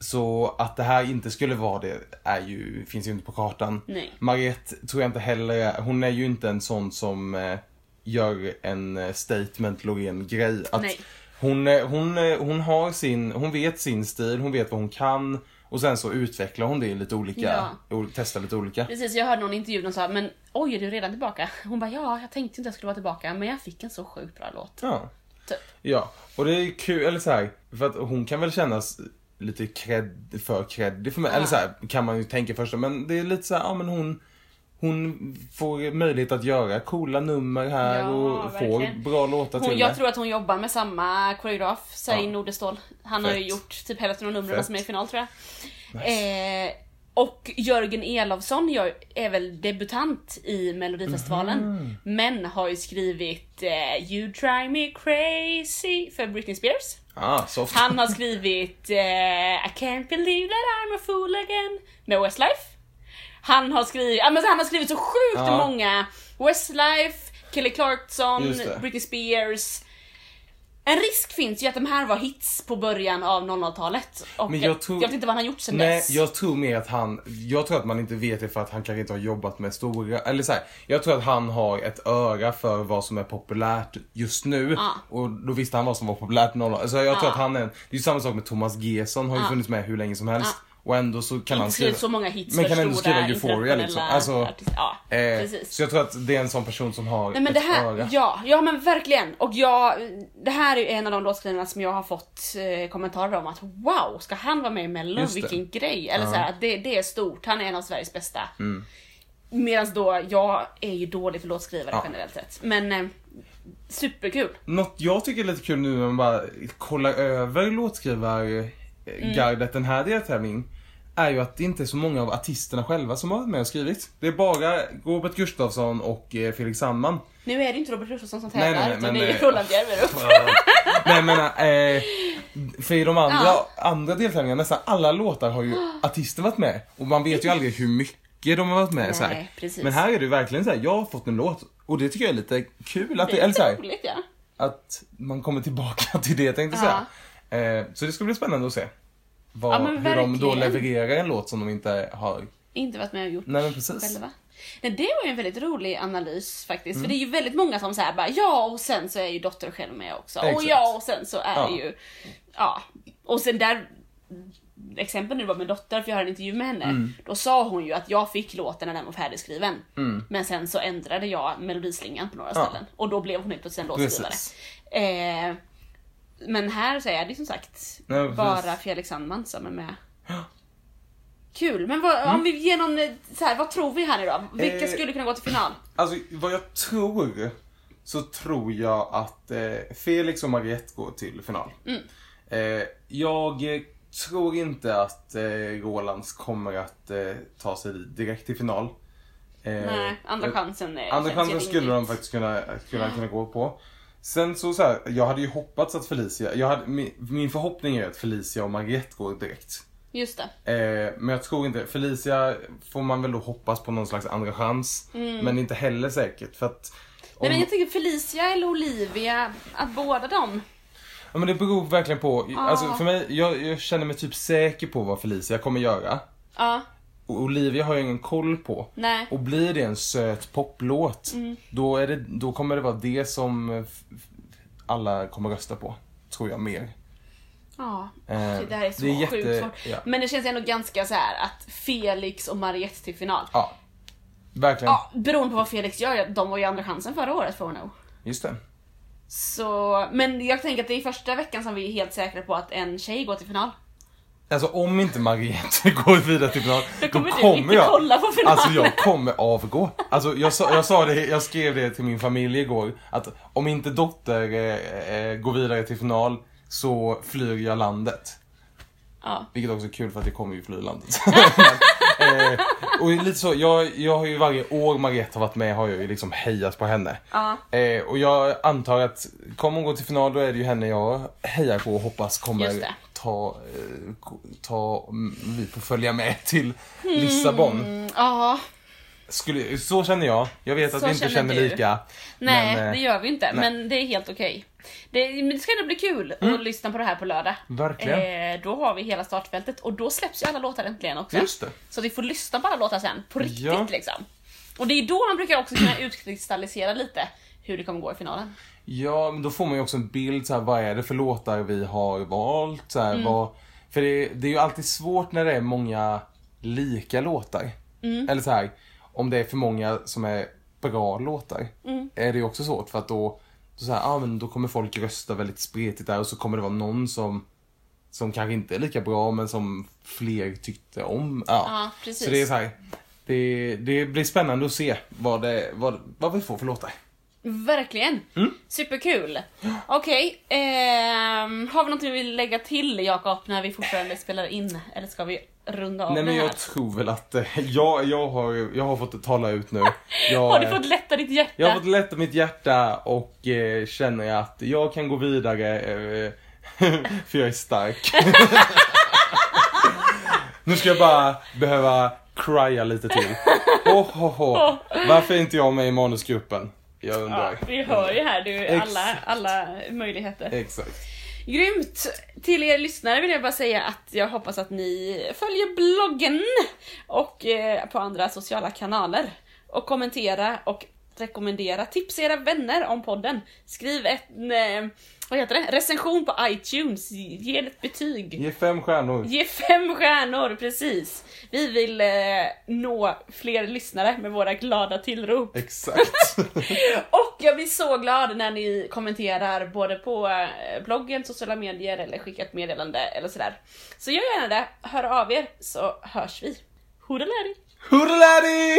[SPEAKER 2] så att det här inte skulle vara det är ju, finns ju inte på kartan.
[SPEAKER 3] Nej.
[SPEAKER 2] Mariette tror jag inte heller, hon är ju inte en sån som eh, gör en eh, statement Loreen-grej. Att
[SPEAKER 3] Nej.
[SPEAKER 2] Hon, eh, hon, eh, hon har sin, hon vet sin stil, hon vet vad hon kan. Och sen så utvecklar hon det i lite olika, o- testar lite olika.
[SPEAKER 3] Precis, jag hörde någon intervju där sa men oj är du redan tillbaka? Hon bara ja, jag tänkte inte jag skulle vara tillbaka men jag fick en så sjukt bra låt.
[SPEAKER 2] Ja.
[SPEAKER 3] Typ.
[SPEAKER 2] Ja, och det är kul, eller så här, för att hon kan väl kännas lite cred, för creddig för mig, eller så här, kan man ju tänka först, men det är lite så här, ja men hon hon får möjlighet att göra coola nummer här
[SPEAKER 3] Ja,
[SPEAKER 2] och får
[SPEAKER 3] verkligen.
[SPEAKER 2] bra låtar
[SPEAKER 3] Hon,
[SPEAKER 2] till
[SPEAKER 3] jag
[SPEAKER 2] det.
[SPEAKER 3] tror att hon jobbar med samma koreograf, Zain
[SPEAKER 2] Ja.
[SPEAKER 3] Nordestål. Han har ju
[SPEAKER 2] Fett.
[SPEAKER 3] gjort typ hälften av numren
[SPEAKER 2] Fett.
[SPEAKER 3] som är i final tror jag. Eh, och Jörgen Elofsson gör, är väl debutant i Melodifestivalen.
[SPEAKER 2] Mhm.
[SPEAKER 3] Men har ju skrivit eh, You Drive Me Crazy för Britney Spears.
[SPEAKER 2] Ah, soft.
[SPEAKER 3] Han har skrivit eh, I can't believe that I'm a fool again med Westlife. Han har skrivit, ja, men så han har skrivit så sjukt
[SPEAKER 2] Ja.
[SPEAKER 3] många Westlife, Kelly Clarkson,
[SPEAKER 2] Just det.
[SPEAKER 3] Britney Spears. En risk finns ju att de här var hits på början av 00-talet. Och
[SPEAKER 2] Men
[SPEAKER 3] jag,
[SPEAKER 2] jag tror-
[SPEAKER 3] vet inte vad han har gjort sen
[SPEAKER 2] Nej,
[SPEAKER 3] dess.
[SPEAKER 2] jag tror mer att han, jag tror att man inte vet det för att han kanske inte har jobbat med stora, eller så här, jag tror att han har ett öra för vad som är populärt just nu.
[SPEAKER 3] Ja.
[SPEAKER 2] Och då visste han vad som var populärt noll. Alltså jag tror
[SPEAKER 3] Ja.
[SPEAKER 2] att han är, en- det är ju samma sak med Thomas Gesson, har ju
[SPEAKER 3] Ja.
[SPEAKER 2] funnits med hur länge som helst. Och ändå så kan han
[SPEAKER 3] inte
[SPEAKER 2] skriva.
[SPEAKER 3] skrivit så många hits
[SPEAKER 2] men
[SPEAKER 3] för
[SPEAKER 2] kan ändå
[SPEAKER 3] stora
[SPEAKER 2] skriva Euphoria liksom.
[SPEAKER 3] internationella
[SPEAKER 2] Alltså,
[SPEAKER 3] artister. Ja,
[SPEAKER 2] eh,
[SPEAKER 3] precis.
[SPEAKER 2] Så jag tror att det är en sån person som har
[SPEAKER 3] Nej men det
[SPEAKER 2] ett
[SPEAKER 3] här,
[SPEAKER 2] öra.
[SPEAKER 3] ja, ja men verkligen. Och jag, det här är ju en av de låtskrivarna som jag har fått eh, kommentarer om att wow, ska han vara med i mello?
[SPEAKER 2] Just det.
[SPEAKER 3] Vilken grej! Eller så här, att det, det är stort, han är en av Sveriges bästa. Mm. Medan då, jag är ju dålig för låtskrivare
[SPEAKER 2] Ja.
[SPEAKER 3] generellt sett. Men eh, superkul!
[SPEAKER 2] Något jag tycker är lite kul nu när man bara kollar över låtskrivargardet den här deltävlingen är ju att det inte är så många av artisterna själva som har varit med och skrivit. Det är bara Robert Gustafsson och eh, Felix Sandman.
[SPEAKER 3] Nu är det ju inte Robert Gustafsson som
[SPEAKER 2] Nej,
[SPEAKER 3] tävlar
[SPEAKER 2] nej, nej,
[SPEAKER 3] utan
[SPEAKER 2] men,
[SPEAKER 3] det är ju
[SPEAKER 2] eh,
[SPEAKER 3] Roland Bjerverup.
[SPEAKER 2] Nej men eh, för i de andra,
[SPEAKER 3] Ja.
[SPEAKER 2] andra deltävlingarna, nästan alla låtar har ju artister varit med. Och man vet ju aldrig hur mycket de har varit med.
[SPEAKER 3] Nej,
[SPEAKER 2] så här.
[SPEAKER 3] precis.
[SPEAKER 2] Men här är det ju verkligen så här, jag har fått en låt och det tycker jag är lite kul. Att det,
[SPEAKER 3] Det är
[SPEAKER 2] eller så
[SPEAKER 3] lite
[SPEAKER 2] här,
[SPEAKER 3] roligt ja.
[SPEAKER 2] att man kommer tillbaka till det tänkte jag säga. Eh, så det ska bli spännande att se. Vad,
[SPEAKER 3] Ja, men
[SPEAKER 2] hur de då
[SPEAKER 3] verkligen.
[SPEAKER 2] levererar en låt som de inte har.
[SPEAKER 3] Inte varit med och gjort
[SPEAKER 2] Nej men precis. Mm.
[SPEAKER 3] själva. Nej, det var ju en väldigt rolig analys faktiskt. För det är ju väldigt många som säger bara ja och sen så är ju dotter själv med också. Och
[SPEAKER 2] Exakt.
[SPEAKER 3] ja och sen så är
[SPEAKER 2] Ja.
[SPEAKER 3] det ju, ja. Och sen där exempel nu var med dotter, för jag har en intervju med henne.
[SPEAKER 2] Mm.
[SPEAKER 3] Då sa hon ju att jag fick låten när den var färdigskriven. Men sen så ändrade jag melodislingan på några
[SPEAKER 2] Mm. Ja.
[SPEAKER 3] ställen. Och då blev hon helt plötsligt en låtskrivare.
[SPEAKER 2] Precis.
[SPEAKER 3] Eh, men här så är det som sagt
[SPEAKER 2] Nej, precis.
[SPEAKER 3] bara Felix Sandman som är med. Kul, men vad, om vi ger någon, eh, så här, vad tror vi här nu då? Vilka
[SPEAKER 2] Mm. Eh.
[SPEAKER 3] skulle kunna gå till final?
[SPEAKER 2] Alltså vad jag tror så tror jag att eh, Felix och Mariette går till final.
[SPEAKER 3] Mm.
[SPEAKER 2] Eh, jag eh, tror inte att eh, Rolands kommer att eh, ta sig direkt till final. Eh,
[SPEAKER 3] Nej, andra
[SPEAKER 2] eh,
[SPEAKER 3] chansen är,
[SPEAKER 2] Andra
[SPEAKER 3] känns ju
[SPEAKER 2] chansen skulle de
[SPEAKER 3] rimligt.
[SPEAKER 2] faktiskt kunna, kunna, kunna gå på. Sen så, så här, jag hade ju hoppats att Felicia, jag hade, min, min förhoppning är att Felicia och Mariette går direkt.
[SPEAKER 3] Just det.
[SPEAKER 2] Eh, men jag tror inte, Felicia får man väl då hoppas på någon slags andra chans. Men inte heller säkert för att om,
[SPEAKER 3] Mm. Nej men jag tänker Felicia eller Olivia, att båda dem.
[SPEAKER 2] ja, men det beror verkligen på. Alltså
[SPEAKER 3] Ah.
[SPEAKER 2] för mig, jag, jag känner mig typ säker på vad Felicia kommer göra.
[SPEAKER 3] Ja,
[SPEAKER 2] Och Olivia har jag ingen koll på.
[SPEAKER 3] nej.
[SPEAKER 2] Och blir det en söt poplåt,
[SPEAKER 3] Mm.
[SPEAKER 2] då, är det, då kommer det vara det som eh, f- f- alla kommer rösta på. Tror jag mer.
[SPEAKER 3] Ja,
[SPEAKER 2] Eh,
[SPEAKER 3] det här är så
[SPEAKER 2] det är
[SPEAKER 3] sjukt
[SPEAKER 2] jätte-
[SPEAKER 3] svårt.
[SPEAKER 2] ja.
[SPEAKER 3] Men det känns ändå ganska så här att Felix och Mariette till final.
[SPEAKER 2] Ja, verkligen.
[SPEAKER 3] Ja, beroende på vad Felix gör, de var ju andra chansen förra året får hon nog.
[SPEAKER 2] Just det.
[SPEAKER 3] Så, men jag tänker att det är första veckan som vi är helt säkra på att en tjej går till final.
[SPEAKER 2] Alltså om inte Mariette går vidare till final,
[SPEAKER 3] Då
[SPEAKER 2] då
[SPEAKER 3] kommer
[SPEAKER 2] kommer,
[SPEAKER 3] du inte
[SPEAKER 2] jag...
[SPEAKER 3] kolla på finalen.
[SPEAKER 2] Alltså jag kommer avgå. Alltså jag, sa, jag sa det, jag skrev det till min familj igår, att om inte Dotter eh, eh, går vidare till final så flyr jag landet.
[SPEAKER 3] Ja.
[SPEAKER 2] Vilket också är kul för att jag kommer ju fly landet. Men, eh, och lite så, jag, jag har ju varje år Mariette har varit med har jag ju liksom hejat på henne.
[SPEAKER 3] Ja.
[SPEAKER 2] Eh, och jag antar att kommer hon gå till final då är det ju henne jag hejar på och hoppas
[SPEAKER 3] Just
[SPEAKER 2] kommer
[SPEAKER 3] det.
[SPEAKER 2] ta, eh, ko- ta, mm, vi får följa med till
[SPEAKER 3] Hmm.
[SPEAKER 2] Lissabon.
[SPEAKER 3] Mm, ja.
[SPEAKER 2] Skulle, så känner jag. Jag vet att
[SPEAKER 3] Så
[SPEAKER 2] vi inte
[SPEAKER 3] känner
[SPEAKER 2] känner,
[SPEAKER 3] du.
[SPEAKER 2] lika.
[SPEAKER 3] Nej,
[SPEAKER 2] men, eh,
[SPEAKER 3] det gör vi inte.
[SPEAKER 2] nej. Mm.
[SPEAKER 3] Men det är helt okej. Det, men det ska ändå bli kul att lyssna på det här på lördag.
[SPEAKER 2] Verkligen.
[SPEAKER 3] Eh, då har vi hela startfältet och då släpps ju alla låtar äntligen också.
[SPEAKER 2] Just det.
[SPEAKER 3] Så vi får lyssna på alla låtar sen, på riktigt
[SPEAKER 2] Ja.
[SPEAKER 3] liksom. Och det är då man brukar också kunna utkristallisera lite hur det kommer gå i finalen.
[SPEAKER 2] Ja, men då får man ju också en bild så här, vad är det för låtar vi har valt? Så
[SPEAKER 3] Mm.
[SPEAKER 2] här, vad, för det, det är ju alltid svårt när det är många lika låtar.
[SPEAKER 3] Mm.
[SPEAKER 2] Eller så här, om det är för många som är bra låtar.
[SPEAKER 3] Mm.
[SPEAKER 2] Är det ju också svårt för att då, så här, ah, men då kommer folk rösta väldigt spretigt där och så kommer det vara någon som som kanske inte är lika bra men som fler tyckte om. Ja,
[SPEAKER 3] Ja, precis.
[SPEAKER 2] Så det är så här, det, det blir spännande att se vad, det, vad, vad vi får för låtar.
[SPEAKER 3] Verkligen!
[SPEAKER 2] Mm.
[SPEAKER 3] Superkul! Okej, ehm, har vi något vi vill lägga till Jakob när vi fortfarande spelar in? Eller ska vi runda av
[SPEAKER 2] Nej men
[SPEAKER 3] det här?
[SPEAKER 2] jag tror väl att eh, jag, jag, har, jag har fått tala ut nu. Jag,
[SPEAKER 3] Har du
[SPEAKER 2] eh,
[SPEAKER 3] fått lätta ditt hjärta?
[SPEAKER 2] jag har fått lätta mitt hjärta och eh, känner att jag kan gå vidare eh, för jag är stark. nu ska jag bara behöva crya lite till. Oh, oh, oh. Varför är inte jag med i manusgruppen? Jag
[SPEAKER 3] Ja,
[SPEAKER 2] undrar.
[SPEAKER 3] vi hör ju här du, alla,
[SPEAKER 2] Exakt.
[SPEAKER 3] alla möjligheter.
[SPEAKER 2] Exakt.
[SPEAKER 3] Grymt! Till er lyssnare vill jag bara säga att jag hoppas att ni följer bloggen och eh, på andra sociala kanaler. Och kommentera och rekommendera. Tipsa era vänner om podden. Skriv en eh, vad heter det? recension på iTunes. Ge den ett betyg.
[SPEAKER 2] Ge fem stjärnor.
[SPEAKER 3] Ge fem stjärnor, precis! Vi vill eh, nå fler lyssnare med våra glada tillrop.
[SPEAKER 2] Exakt.
[SPEAKER 3] Och jag blir så glad när ni kommenterar både på eh, bloggen, sociala medier eller skickar ett meddelande eller sådär. Så gör gärna det, hör av er så hörs vi. Hoodaladi!
[SPEAKER 2] Hurra daddy!